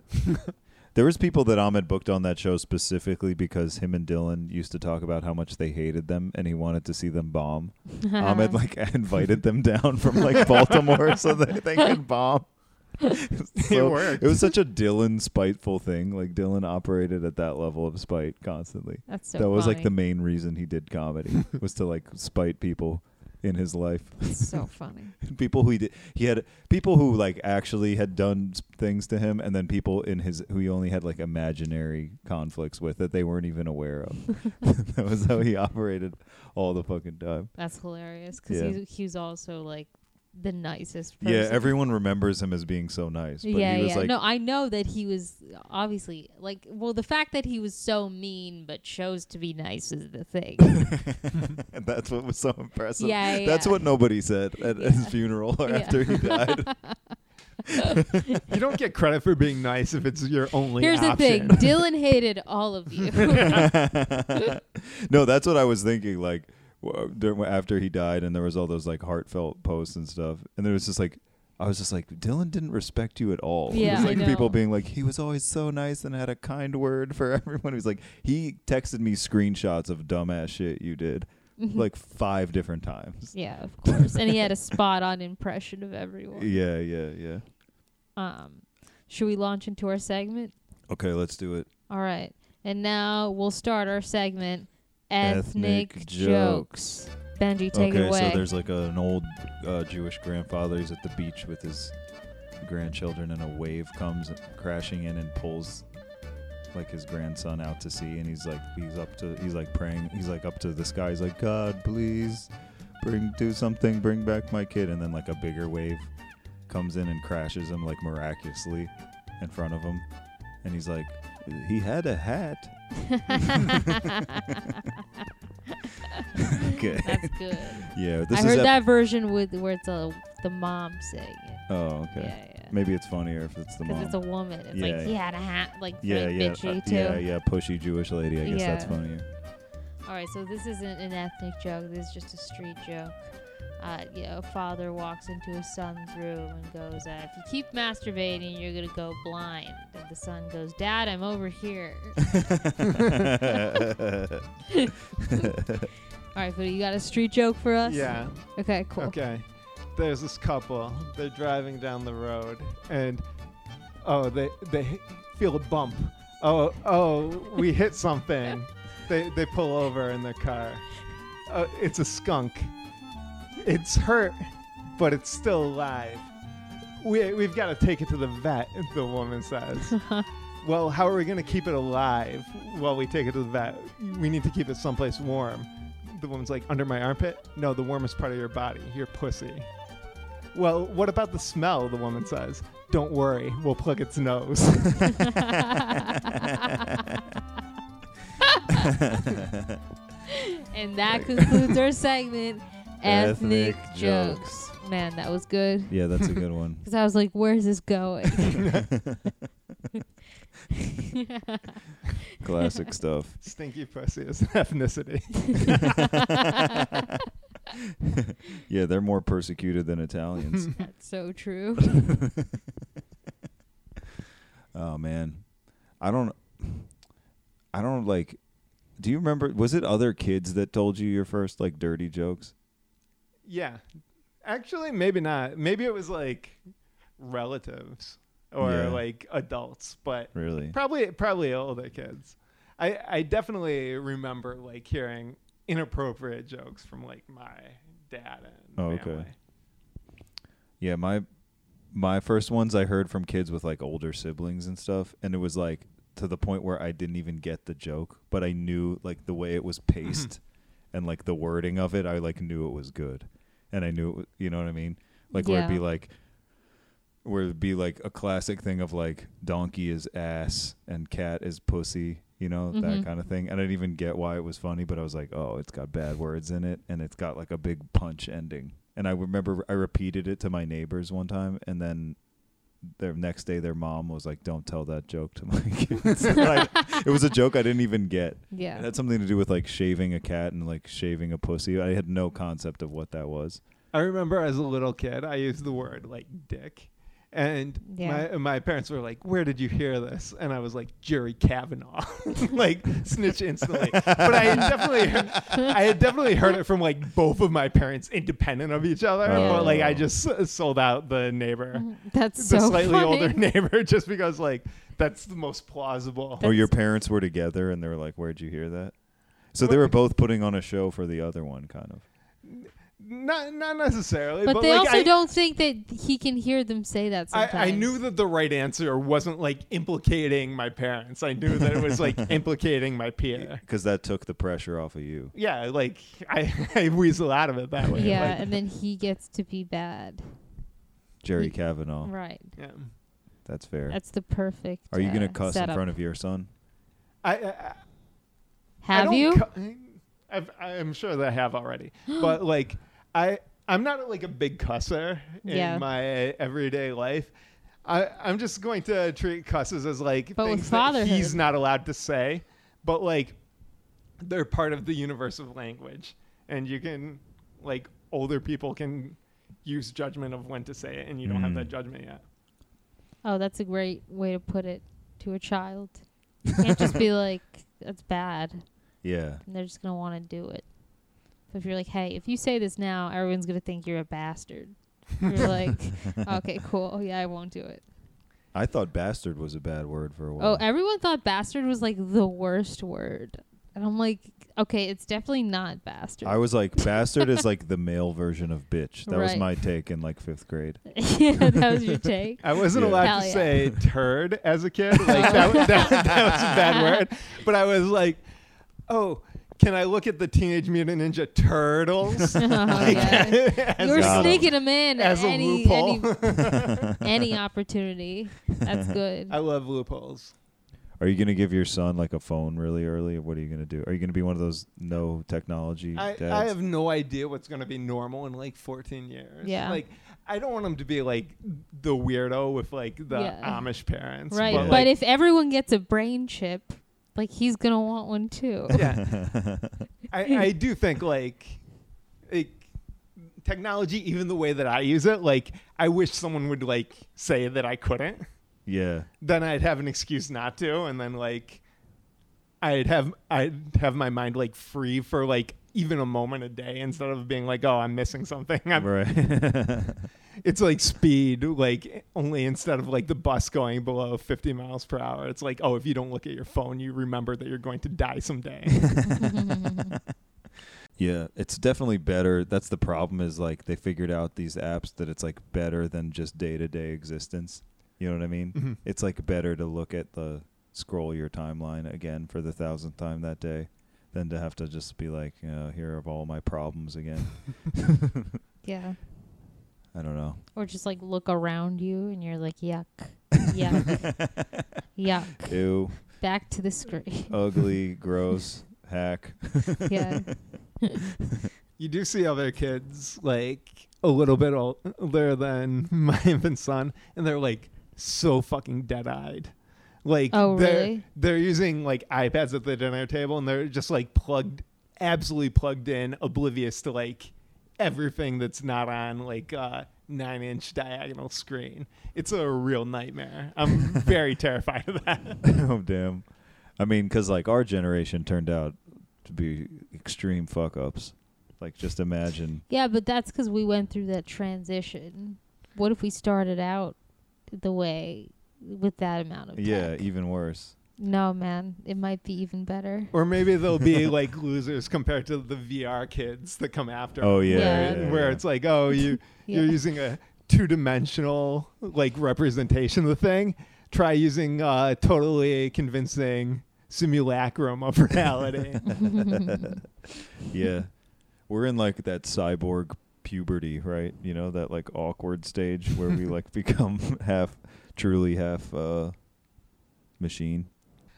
there was people that Ahmed booked on that show specifically because him and Dylan used to talk about how much they hated them, and he wanted to see (laughs) them bomb. Ahmed like (laughs) invited them down from like Baltimore so that they (laughs) could bomb. So, worked. it was such a Dylan spiteful thing. Like Dylan operated at that level of spite constantly. That's so. (laughs) that was like the funny. (laughs) main reason he did comedy was to like spite people in his life. (laughs) It's so funny. people who he did, he had people who like actually had done s- things to him, and then people in his who he only had like imaginary conflicts with that they weren't even aware (laughs) of. (laughs) that was how he operated all the fucking time. That's hilarious because Yeah. he's, he's also like the nicest person. Yeah, everyone remembers him as being so nice, but yeah, he was yeah. like, no, I know that he was obviously like. Well, the fact that he was so mean but chose to be nice is the (laughs) thing. (laughs) that's what was so impressive. Yeah, that's yeah. what nobody said at his funeral (laughs) (laughs) or Yeah. after he died. You don't get credit for being nice if it's your only Here's the option. thing: Dylan hated all of you. (laughs) no, that's what I was thinking. Like w- during, after he died, and there was all those like heartfelt posts and stuff, and there was just like. I was just like Dylan didn't respect you at all. It Yeah, was I like people know. being like he was always so nice and had a kind word for (laughs) everyone. He was like he texted me screenshots of dumbass shit you did (laughs) (laughs) Mm-hmm. like five different times. yeah, of course. And he had a spot-on impression of everyone. Yeah, yeah, yeah. Um, should we launch into our segment? Okay, let's do it. All right, and now we'll start our segment. Ethnic, Ethnic jokes. jokes. Benji, take okay, it away. so there's like an old uh, Jewish grandfather. He's at the beach with his grandchildren, and a wave comes crashing in and pulls like his grandson out to sea. And he's like, he's up to, he's like praying, he's like up to the sky. He's like, God, please bring, do something, bring back my kid. And then like a bigger wave comes in and crashes him like miraculously in front of him. And he's like, he had a hat. (laughs) (laughs) Okay. That's good. Yeah, this I is heard ep- that version with where it's a, the mom saying it. Oh, okay. Yeah, yeah. Maybe it's funnier if it's the Because mom. it's a woman. It's Yeah, like he had a hat, like yeah, very yeah, bitchy uh, too. yeah, yeah, pushy Jewish lady. I guess that's Yeah. (laughs) funnier. (laughs) All right, so this isn't an ethnic joke. This is just a street joke. Uh, yeah, a father walks into his son's room and goes, uh, "If you keep masturbating, you're gonna go blind." And the son goes, "Dad, I'm over here." (laughs) All right, but you got a street joke for us? Yeah. Okay, cool. Okay. There's this couple. They're driving down the road, and oh, they they hit- feel a bump. Oh, oh, we hit something. they they pull over in their car. Uh, it's a skunk. It's hurt, but it's still alive. We we've got to take it to the vet. The woman says. Well, how are we going to keep it alive while we take it to the vet? We need to keep it someplace warm. The woman's like, under my armpit? No, the warmest part of your body, your pussy. Well, what about the smell? The woman says. Don't worry, we'll plug its nose. (laughs) (laughs) And that concludes our (laughs) segment, ethnic, Ethnic jokes. Man, that was good. yeah, that's a good one. Because I was like, where's this (laughs) going? (laughs) Classic stuff. Stinky pussy is an ethnicity. (laughs) Yeah, they're more persecuted (laughs) than Italians. That's so (laughs) true. oh man, I don't, I don't like. Do you remember? Was it other kids that told you your first like dirty jokes? Yeah. Actually, maybe not. Maybe it was like relatives or Yeah. like adults, but Really? probably probably older kids. I I definitely remember like hearing inappropriate jokes from like my dad and Oh, okay. family. Yeah, my my first ones I heard from kids with like older siblings and stuff, and it was like to the point where I didn't even get the joke, but I knew like the way it was paced and like the wording of it, I like knew it was good, and I knew it, wa- you know what I mean, like where it'd be Yeah. like where it'd be like a classic thing of like donkey is ass and cat is pussy. You know, that kind of thing. And I didn't even get why it was funny, but I was like, oh, it's got bad words in it and it's got like a big punch ending. And I remember I repeated it to my neighbors one time and then their next day their mom was like, Don't tell that joke to my (laughs) kids. And I- it was a joke I didn't even get. It Yeah. had something to do with like shaving a cat and like shaving a pussy. I had no concept of what that was. I remember as a little kid, I used the word like dick. And Yeah. my, my parents were like, Where did you hear this? And I was like, Jerry Kavanaugh. (laughs) like, snitch instantly. but I had, definitely, I had definitely heard it from like both of my parents independent of each other. But like, I Oh. just s- sold out the neighbor, (laughs) That's the Mm-hmm. so slightly funny. older (laughs) neighbor, just because like that's the most plausible. or Oh, your parents were together and they were like, Where'd you hear that? So they What- were both putting on a show for the other one, kind of. Not not necessarily, But, but, they like, also I, don't think that he can hear them say that sometimes. I, I knew that the right answer wasn't like implicating my parents. I knew that it (laughs) was like implicating my peer. because that took the pressure off of you. Yeah, like I, (laughs) I weasel out of it that way. Yeah, like, and then he gets to be bad. Jerry Oh. Kavanaugh. Right. yeah. That's fair. That's the perfect. Are you gonna uh, cuss in setup. front of your son? I, I I Have don't you? cu- I've, I'm sure that I (gasps) have already, but like I, I'm not like a big cusser in Yeah. my everyday life. I, I'm just going to treat cusses as like But with things that he's fatherhood. not allowed to say, but like they're part of the universe of language, and you can like older people can use judgment of when to say it, and you don't have Mm. that judgment yet. oh, that's a great way to put it to a (laughs) child. You can't just be like, "That's bad," Yeah. and they're just gonna want to do it. But if you're like, "Hey, if you say this now, everyone's gonna think you're a bastard," you're (laughs) like, "Okay, cool. Oh, Yeah, I won't do it." I thought bastard was a bad word for a Oh, while. everyone thought bastard was like the worst word, and I'm like, okay, it's definitely not bastard. I was like, bastard is like the male version of bitch. That was Right. my take in like fifth grade. (laughs) yeah, that was your take. I wasn't Yeah. allowed Hell to yeah. say turd as a kid. Like that, that, that was (laughs) a bad word. But I was like, oh, can I look at the Teenage Mutant Ninja (laughs) Turtles? (laughs) Oh, yeah. (laughs) As You're a- sneaking them in as a any, loophole. Any, (laughs) any opportunity. That's good. (laughs) I love loopholes. Are you gonna give your son like a phone really early? What are you gonna do? Are you gonna be one of those no technology I, dads? I have no idea what's going to be normal in like 14 years. Yeah. Like, I don't want him to be like the weirdo with like the Yeah. Amish parents. right. But, But, like, if everyone gets a brain chip, like he's going to want one (laughs) too. yeah. I, I do think like like technology, even the way that I use it, like I wish someone would like say that I couldn't. yeah. Then I'd have an excuse not to, and then like I'd have I'd have my mind like free for like even a moment a day instead of being like, oh, I'm missing something. I'm, Right. (laughs) It's like speed, like only instead of like the bus going below 50 miles per hour, it's like, oh, if you don't look at your phone, you remember that you're going to die someday. Yeah, it's definitely better. That's the problem is like they figured out these apps that it's like better than just day to day existence. You know what I mean? Mhm. It's like better to look at the scroll your timeline again for the thousandth time that day than to have to just be like, you know, here are all my problems again. Yeah. I don't know. Or just like look around you and you're like, (laughs) yuck, yuck, yuck. Ew, Back to the screen. Oh. ugly, gross, hack. (laughs) (laughs) Yeah. you do see other kids like a little bit older than (laughs) my infant son, and they're like so fucking dead eyed. Like Oh, they're, really? they're using like iPads at the dinner table and they're just like plugged absolutely plugged in, oblivious to like everything that's not on like uh nine inch diagonal screen. It's a real nightmare. (laughs) I'm very terrified of that. oh damn. I mean, because like our generation turned out to be extreme fuck ups. Like just imagine. Yeah, but that's because we went through that transition. What if we started out the way with that amount of Yeah, tech? even worse. No, man. It might be even better. Or maybe they'll be like losers compared to the VR kids that come after. Oh yeah, Yeah. yeah, where yeah. it's like, oh, you Yeah. you're using a two dimensional like representation of the thing. Try using a totally convincing simulacrum of (laughs) reality. (laughs) yeah, we're in like that cyborg puberty, right? You know that like awkward stage where we (laughs) like become half, truly half uh, machine.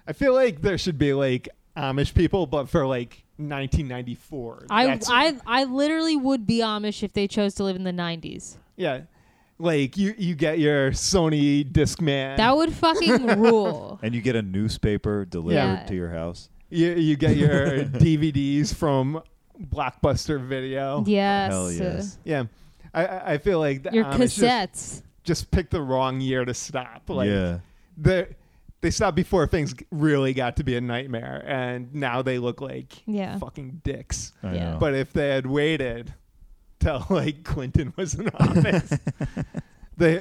I feel like there should be like Amish people, but for like 1994. I, That's- I I literally would be Amish if they chose to live in the 90s. yeah. Like you, you get your Sony Discman. That would (laughs) fucking rule. And you get a newspaper delivered Yeah. to your house. you, you (laughs) get your DVDs from Blockbuster Video. Yes. Oh, Hell yes. Yeah. I- I, I feel like the Your Amish just- cassettes. just picked the wrong year to stop. Like yeah. they they stopped before things g- really got to be a nightmare, and now they look like Yeah. fucking dicks. I yeah. know. But if they had waited till (laughs) like Clinton was in office, they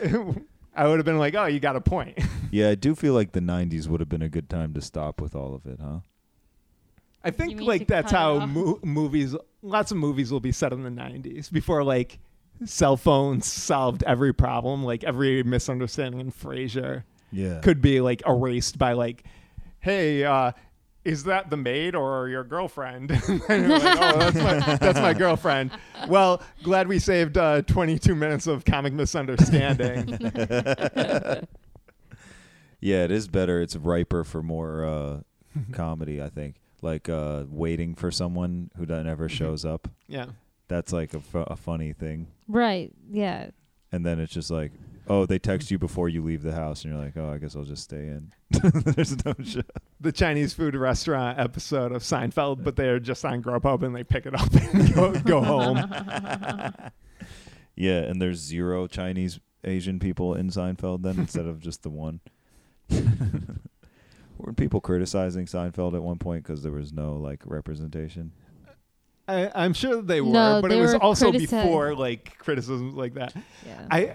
(laughs) I would have been like, oh, you got a point. Yeah, I do feel like the '90s would have been a good time to stop with all of it, huh? I think mean like to that's cut it how off? mo- movies, lots of movies will be set in the '90s before like cell phones solved every problem, like every misunderstanding in Frasier Yeah. could be like erased by like, hey, uh, is that the maid or your girlfriend? (laughs) And you're like, oh, that's my, that's my girlfriend. Well, glad we saved uh, 22 minutes of (laughs) comic misunderstanding. Yeah, it is better. It's riper for more uh, (laughs) comedy, I think. Like uh, waiting for someone who don't- never shows up. yeah. That's like a, fu- a funny thing. Right. Yeah. And then it's just like, oh, they text you before you leave the house, and you're like, oh, I guess I'll just stay in. (laughs) There's no show. The Chinese food restaurant episode of Seinfeld, but they're just on Grubhub and they pick it up and go, go (laughs) home. Yeah, and there's zero Chinese Asian people in Seinfeld then instead of just the (laughs) one. Weren't people criticizing Seinfeld at one point because there was no like representation? I, I'm sure they were, No, but they it was were also critici- before like criticisms like that. Yeah. I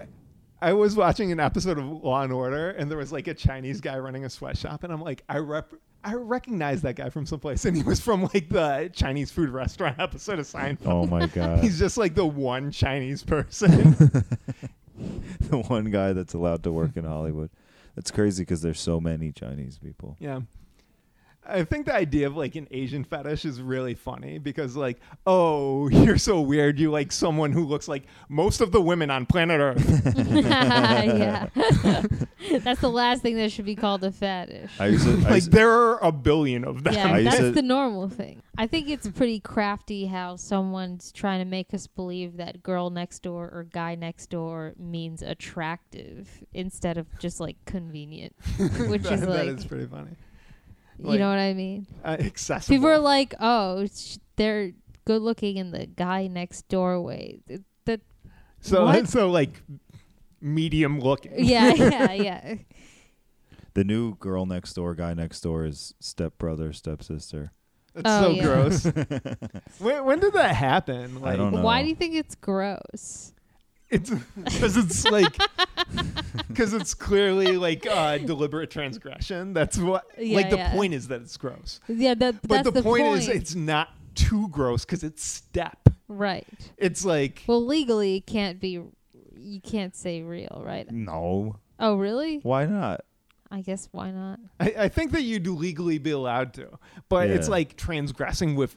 I was watching an episode of Law and Order, and there was like a Chinese guy running a sweatshop, and I'm like, I rep. I recognize that guy from someplace, (laughs) and he was from like the Chinese food restaurant (laughs) episode of Seinfeld. Oh (laughs) my god. He's just like the one Chinese person. (laughs) the one guy that's allowed to work in Hollywood. That's crazy because there's so many Chinese people. Yeah. I think the idea of like an Asian fetish is really funny because like, oh, you're so weird. You like someone who looks like most of the women on (laughs) planet Earth. yeah. (laughs) that's the last thing that should be called a fetish. I (laughs) used to, I like used, there are a billion of them. yeah, (laughs) (laughs) I that's used the to- normal thing. I think it's pretty crafty how someone's trying to make us believe that girl next door or guy next door means attractive instead of just like (laughs) convenient, which That- is like, that is pretty funny. you like- know what I mean? Uh, accessible. People are like, oh, sh- they're good looking in the guy next doorway. Th- That So What? (laughs) so like medium looking. yeah, yeah, yeah. the new girl next door, guy next door is stepbrother, stepsister. (laughs) That's Oh, so yeah. (laughs) gross. when, when did that happen? Like I don't know. Why do you think it's gross? it's because it's (laughs) like because it's clearly like uh, deliberate transgression. That's what Yeah, like the yeah. point is that it's gross. Yeah, that, But that's the, point, is it's not too gross because it's step. right. It's like Well, legally, it can't be. You can't say real, right? No. Oh, really? Why not? I guess why not? I, I think that you'd legally be allowed to, but it's Yeah. like transgressing with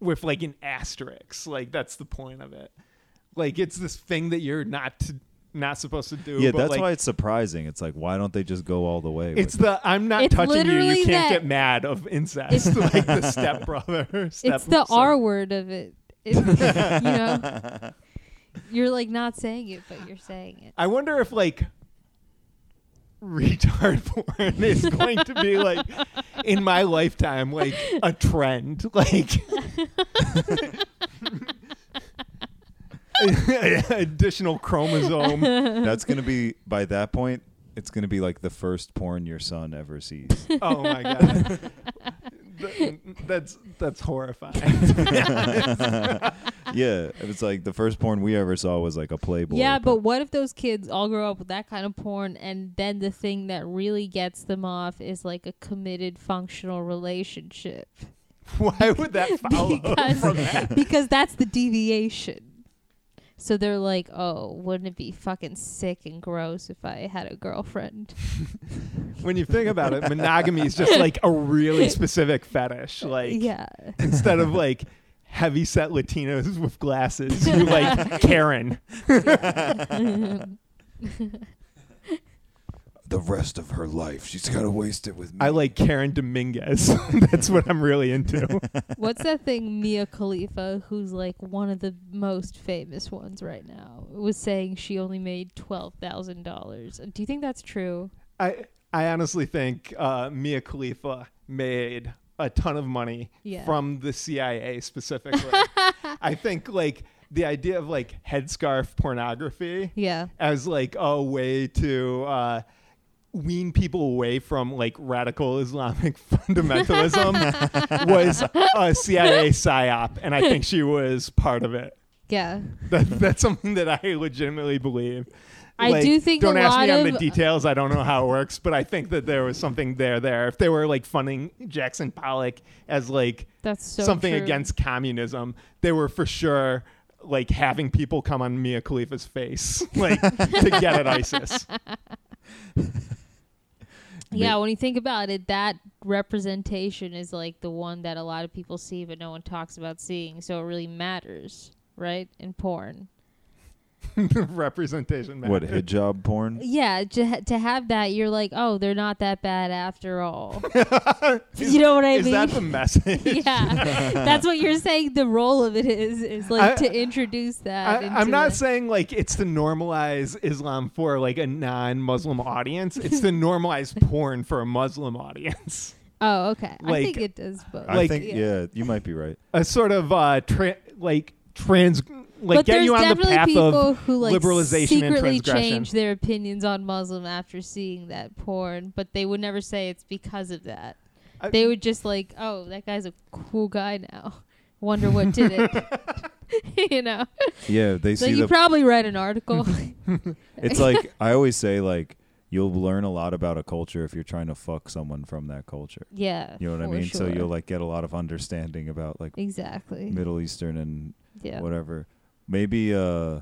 with like an asterisk. Like that's the point of it. Like it's this thing that you're not to, not supposed to do. Yeah, but, that's like, why it's surprising. It's like, why don't they just go all the way? It's with the I'm not It's touching you. You literally can't that- get mad of incest, (laughs) like (laughs) the stepbrother. Step it's the so- R word of it. (laughs) It- you know, you're like not saying it, but you're saying it. I wonder if like retard (laughs) porn is going to be like (laughs) in my (laughs) lifetime like a trend. Like (laughs) (laughs) additional chromosome. it? That's (laughs) gonna be by that point. It's gonna be like the first porn your son (laughs) ever sees. (laughs) Oh my god. Th- That's that's horrifying. (laughs) yeah, it's like the first porn we ever saw was like a Playboy. Yeah, but what if those kids all grow up with that kind of porn, and then the thing that really gets them off is like a committed functional (laughs) relationship? (laughs) Why would that follow Because- from Oh, that? because that's the deviation. So they're like, oh, wouldn't it be fucking sick and gross if I had a girlfriend? When you think about it, monogamy is just like a really specific fetish. Like (laughs) yeah. instead of like heavy set Latinos with (laughs) glasses, you like Karen. the rest of her life, she's gotta waste it with me. I like Karen Dominguez. (laughs) That's what I'm really into. What's that thing Mia Khalifa, who's like one of the most famous ones right now, was saying she only made twelve thousand dollars. Do you think that's true? I I honestly think uh, Mia Khalifa made a ton of money Yeah. from the (laughs) CIA specifically. I think like the idea of like headscarf pornography Yeah. as like a way to uh, wean people away from like radical Islamic (laughs) (laughs) fundamentalism was a CIA psyop, and I think she was part of it. Yeah. That, that's something that I legitimately believe. I do think Don't a ask me lot on the of- details. I don't know how it works, but I think that there was something there. There, if they were like funding Jackson Pollock as like That's so something true. against communism, they were for sure like having people come on Mia Khalifa's face, (laughs) like to get at ISIS. (laughs) Yeah, when you think about it, that representation is like the one that a lot of people see but no one talks about seeing. So it really matters, right? In porn. Representation. What matters. hijab porn? Yeah, to, ha- to have that, you're like, oh, they're not that bad after (laughs) all. (laughs) you know what I Is mean? that the message? (laughs) (laughs) yeah, that's what you're saying. The role of it is is like I- to introduce that. I, into I'm not the- saying like it's to normalize Islam for like a non-Muslim audience. It's (laughs) to normalize porn for a Muslim audience. Oh, okay. I like, think it does both. I Like- think yeah. you might be right. A sort of uh, tra- like trans, like but get there's you on the definitely path people of who like liberalization and secretly transgression. change their opinions on Muslim after seeing that porn, but they would never say it's because of that. I- they would just like, oh, that guy's a cool guy now. (laughs) Wonder what did it. (laughs) (laughs) you know, Yeah, they so see you the probably read an article. Mm-hmm. It's like I always say like you'll learn a lot about a culture if you're trying to fuck someone from that culture. (laughs) yeah, You know what I for mean? So sure. you'll like get a lot of understanding about like exactly. Middle Eastern and Yeah. whatever. Maybe uh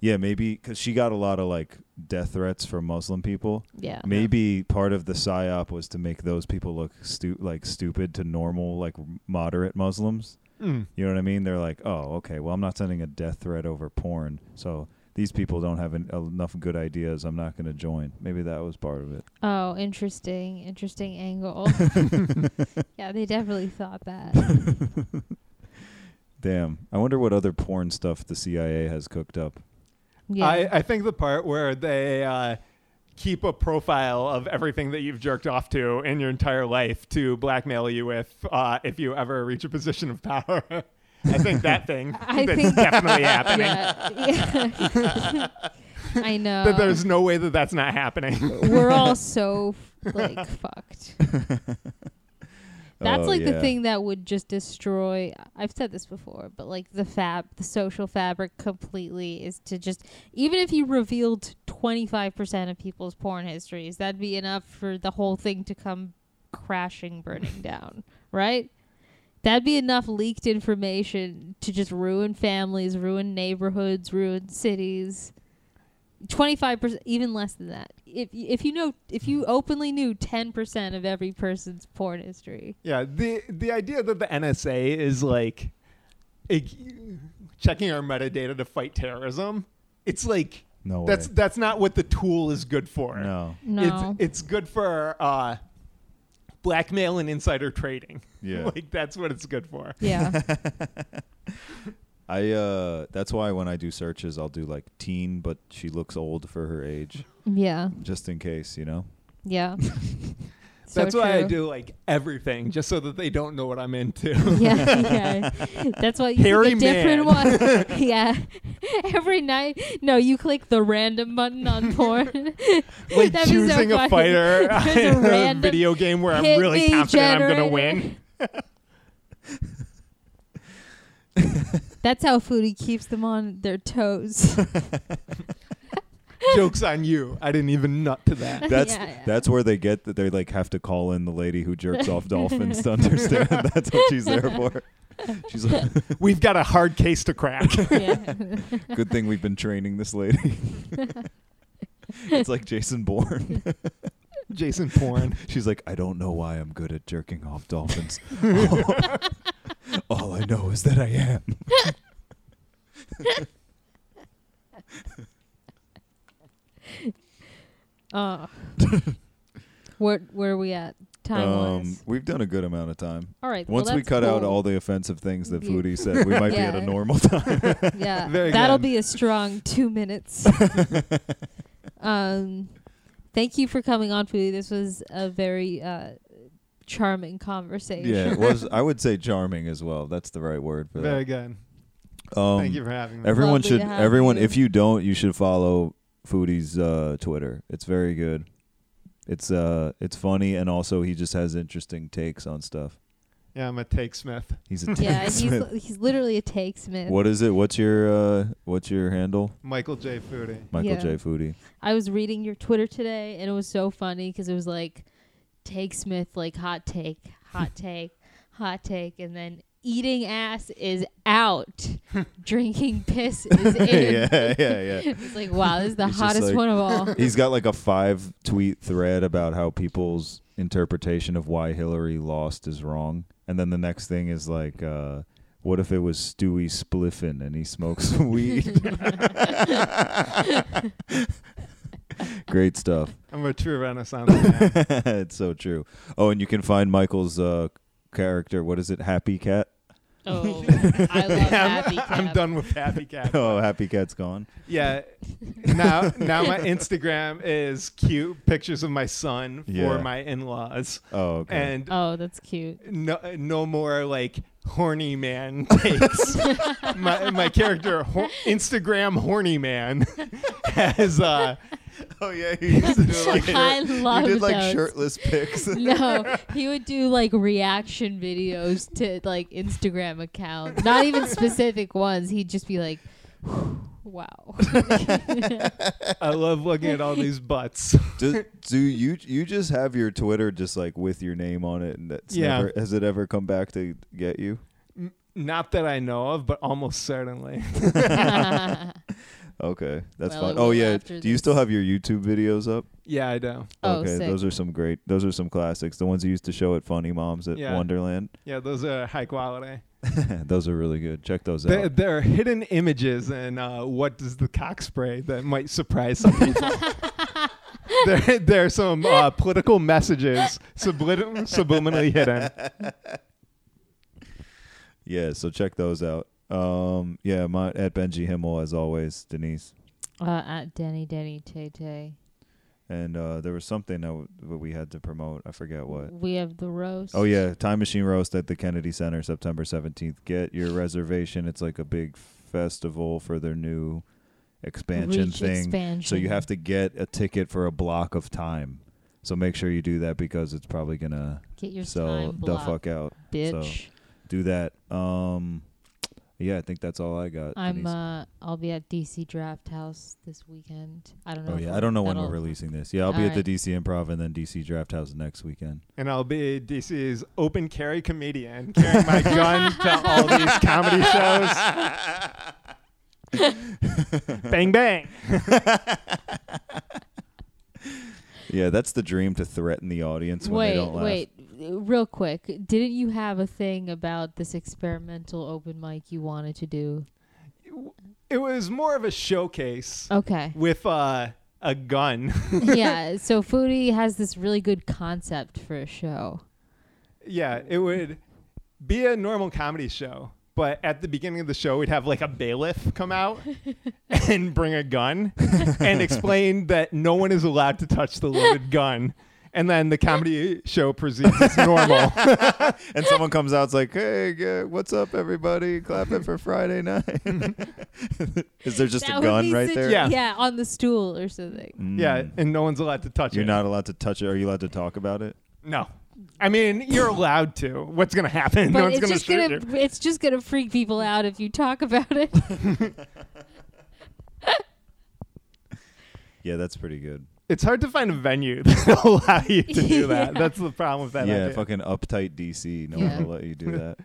yeah, maybe cuz she got a lot of like death threats from Muslim people. Yeah. Maybe part of the psyop was to make those people look stu- like stupid to normal like moderate Muslims. Mm. You know what I mean? They're like, "Oh, okay. Well, I'm not sending a death threat over porn." So these people don't have en- enough good ideas. I'm not going to join. Maybe that was part of it. Oh, interesting, interesting (laughs) angle. (laughs) yeah, they definitely thought that. (laughs) Damn. I wonder what other porn stuff the CIA has cooked up. Yeah. I, I think the part where they uh, keep a profile of everything that you've jerked off to in your entire life to blackmail you with uh, if you ever reach a position of power. (laughs) I think that thing (laughs) I that's think- definitely happening. (laughs) yeah. (laughs) Yeah. I know. That there's no way that that's not happening. (laughs) We're all so (laughs) like fucked. That's Oh, like the yeah. thing that would just destroy. I've said this before, but like the fab, the social fabric completely is to just even if you revealed 25% of people's porn histories, that'd be enough for the whole thing to come crashing, (laughs) burning down, right? That'd be enough leaked information to just ruin families, ruin neighborhoods, ruin cities. 25% even less than that. If y- if you know if you Hmm. openly knew 10% of every person's porn history. Yeah, the the idea that the NSA is like ig- checking our metadata to fight terrorism, it's like No that's way. that's not what the tool is good for. No. No. It's it's good for uh blackmail and insider trading. (laughs) Yeah. like that's what it's good for. (laughs) (laughs) yeah. I uh that's why when I do searches I'll do like teen but she looks old for her age Yeah. just in case, you know. (laughs) Yeah. So that's why I true. do like everything just so that they don't know what I'm into. (laughs) (laughs) yeah, (laughs) yeah. That's why you Hairy click a different man. (laughs) one. (laughs) yeah. Every night, no, you click the random button (laughs) on porn. That'd be like so choosing a funny. (laughs) fighter Just a in (laughs) a random video game where I'm hit really me confident I'm generator. gonna (laughs) win. (laughs) That's how foodie keeps them on their (laughs) toes. Jokes on you. I didn't even nut to (laughs) that. That's Yeah, yeah. that's where they get that they like have to call in the lady who jerks off dolphins to understand (laughs) that's what she's there for. She's like, We've got a hard case to crack. (laughs) yeah. good thing we've been training this lady. it's like Jason Bourne. (laughs) Jason Porn. She's like, I don't know why I'm good at jerking off dolphins. (laughs) All I know is that I am. Oh. where where are we at time wise? Um, we've done a good amount of time. All right. well, Once we that's cut out cool. all the offensive things that Yeah. Foodie said, we might be (laughs) at Yeah. a normal time. (laughs) yeah, Very that'll good. be a strong two (laughs) minutes. um, thank you for coming on, Foodie. This was a very uh, charming conversation. yeah, it was. I would (laughs) say charming as well. That's the right word for Very good. that. Um, Thank you for having me. Everyone Lovely to should. have Everyone, you. if you don't, you should follow Foodie's uh, Twitter. It's very good. It's uh, it's funny, and also he just has interesting takes on stuff. Yeah, I'm a take Smith. He's a Yeah, (laughs) Tank he's Smith. li- he's literally a take Smith. What is it? What's your uh, what's your handle? Michael J. Foodie. Michael Yeah. J. Foodie. I was reading your Twitter today, and it was so funny because it was like, take Smith, like hot take, hot take, hot take, and then eating ass is out, drinking piss is (laughs) in. yeah, yeah, yeah. It's like wow, this is the It's just hottest like- one of (laughs) all. He's got like a five tweet thread about how people's interpretation of why Hillary lost is wrong. And then the next thing is like, uh, what if it was Stewie spliffing and he smokes (laughs) weed? Great stuff. (laughs) I'm a true Renaissance man. it's so true. Oh, and you can find Michael's uh, character. What is it? Happy Cat? (laughs) Oh, I love happy cap. I'm done with Happy Cat. Oh, Happy Cat's gone. Yeah. Now now my Instagram is cute pictures of my son for Yeah. my in-laws. Oh, okay. And Oh, that's cute. no, no more like horny man (laughs) takes. my, my character, hor- Instagram horny man, (laughs) has uh, oh yeah, he used to do like, I shirt- you love did, like, those. shirtless (laughs) pics. No, he would do like reaction videos to like Instagram account. Not even specific ones. He'd just be like, wow. I love looking at all these butts. (laughs) do, do you you just have your Twitter just like with your name on it, and that's Yeah. never has it ever come back to get you? Not that I know of, but almost certainly. Okay, that's Well, it fine. Oh will yeah, after do you this. still have your YouTube videos up? Yeah, I do. Oh, okay, sick. those are some great. Those are some classics. The ones you used to show at Funny Moms at Yeah. Wonderland. (laughs) Yeah, those are high quality. those are really good. Check those out. There, there are hidden images in uh, what does the cock spray that might surprise some people. (laughs) there, there are some uh, political messages sublim- subliminally hidden. Yeah, so check those out. Um, yeah, my at Benji Himmel as always, Denise. Uh, at Denny Denny Tay Tay. And uh, there was something that, w- that we had to promote. I forget what. We have the roast. Oh yeah, Time Machine Roast at the Kennedy Center, September seventeenth. Get your reservation. It's like a big festival for their new expansion Reach thing. Expansion. So you have to get a ticket for a block of time. So make sure you do that because it's probably gonna get your sell time the blocked, fuck out. bitch. Do that. Um, yeah, I think that's all I got. I'm. Denise. Uh, I'll be at DC Draft House this weekend. I don't know. Oh if yeah, I I'll- don't know when we're that'll- releasing this. Yeah, I'll be All at the right. DC Improv and then DC Draft House next weekend. And I'll be DC's open carry comedian, carrying my gun to all these comedy shows. bang bang. Yeah, that's the dream to threaten the audience when they Wait, don't laugh. wait, real quick. Didn't you have a thing about this experimental open mic you wanted to do? It was more of a showcase (laughs) Okay. with uh, a gun. yeah. So Foodie has this really good concept for a show. Yeah, it would be a normal comedy show, but at the beginning of the show, we'd have like a bailiff (laughs) come out and bring a gun and explain that no one is allowed to touch the loaded gun. And then the comedy show proceeds as (laughs) normal. And someone comes out, it's like, "Hey, g- what's up, everybody? Clap it for Friday night." (laughs) Is there just a gun right there? Yeah. Yeah, on the stool or something. Mm. yeah, and no one's allowed to touch You're it. not allowed to touch it. Are you allowed to talk about it? No. I mean, you're allowed to. What's going to happen? But no one's it's going to just shoot gonna you. it's just gonna freak people out if you talk about (laughs) it. Yeah, that's pretty good. It's hard to find a venue that (laughs) will allow you to do (laughs) that. Yeah. That's the problem with that yeah, idea. fucking uptight DC. No Yeah. one will let you do that.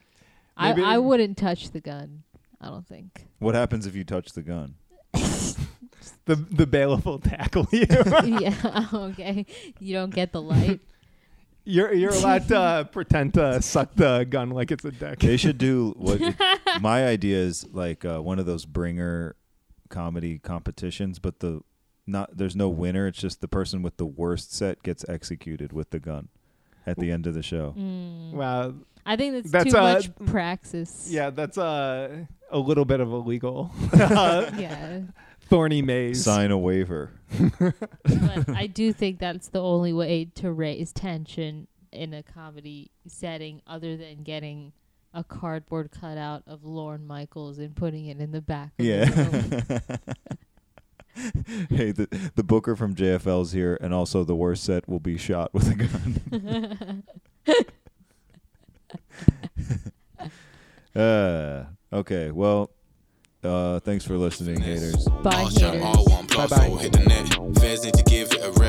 I, Maybe- I wouldn't touch the gun. I don't think. (laughs) What happens if you touch the gun? The, the bailiff will tackle you. (laughs) yeah. (laughs) Okay. You don't get the light. You're you're allowed to uh, pretend to suck the gun like it's a dick. They should do (laughs) what my idea is like uh, one of those bringer comedy competitions, but the not there's no winner. It's just the person with the worst set gets executed with the gun at the end of the show. Mm. Wow, I think that's, That's, too uh, much praxis. yeah, that's a uh, a little bit of a legal (laughs) uh, Yeah. thorny maze. Sign a waiver. but I do think that's the only way to raise tension in a comedy setting other than getting a cardboard cutout of Lorne Michaels and putting it in the back of Yeah. the room. (laughs) hey, the, the booker from JFL's here, and also the worst set will be shot with a gun. (laughs) Uh, okay. Well, uh, thanks for listening, haters. Bye, All shot, haters. all one plus, Bye-bye. all hit the net. Fans need to give it a rest.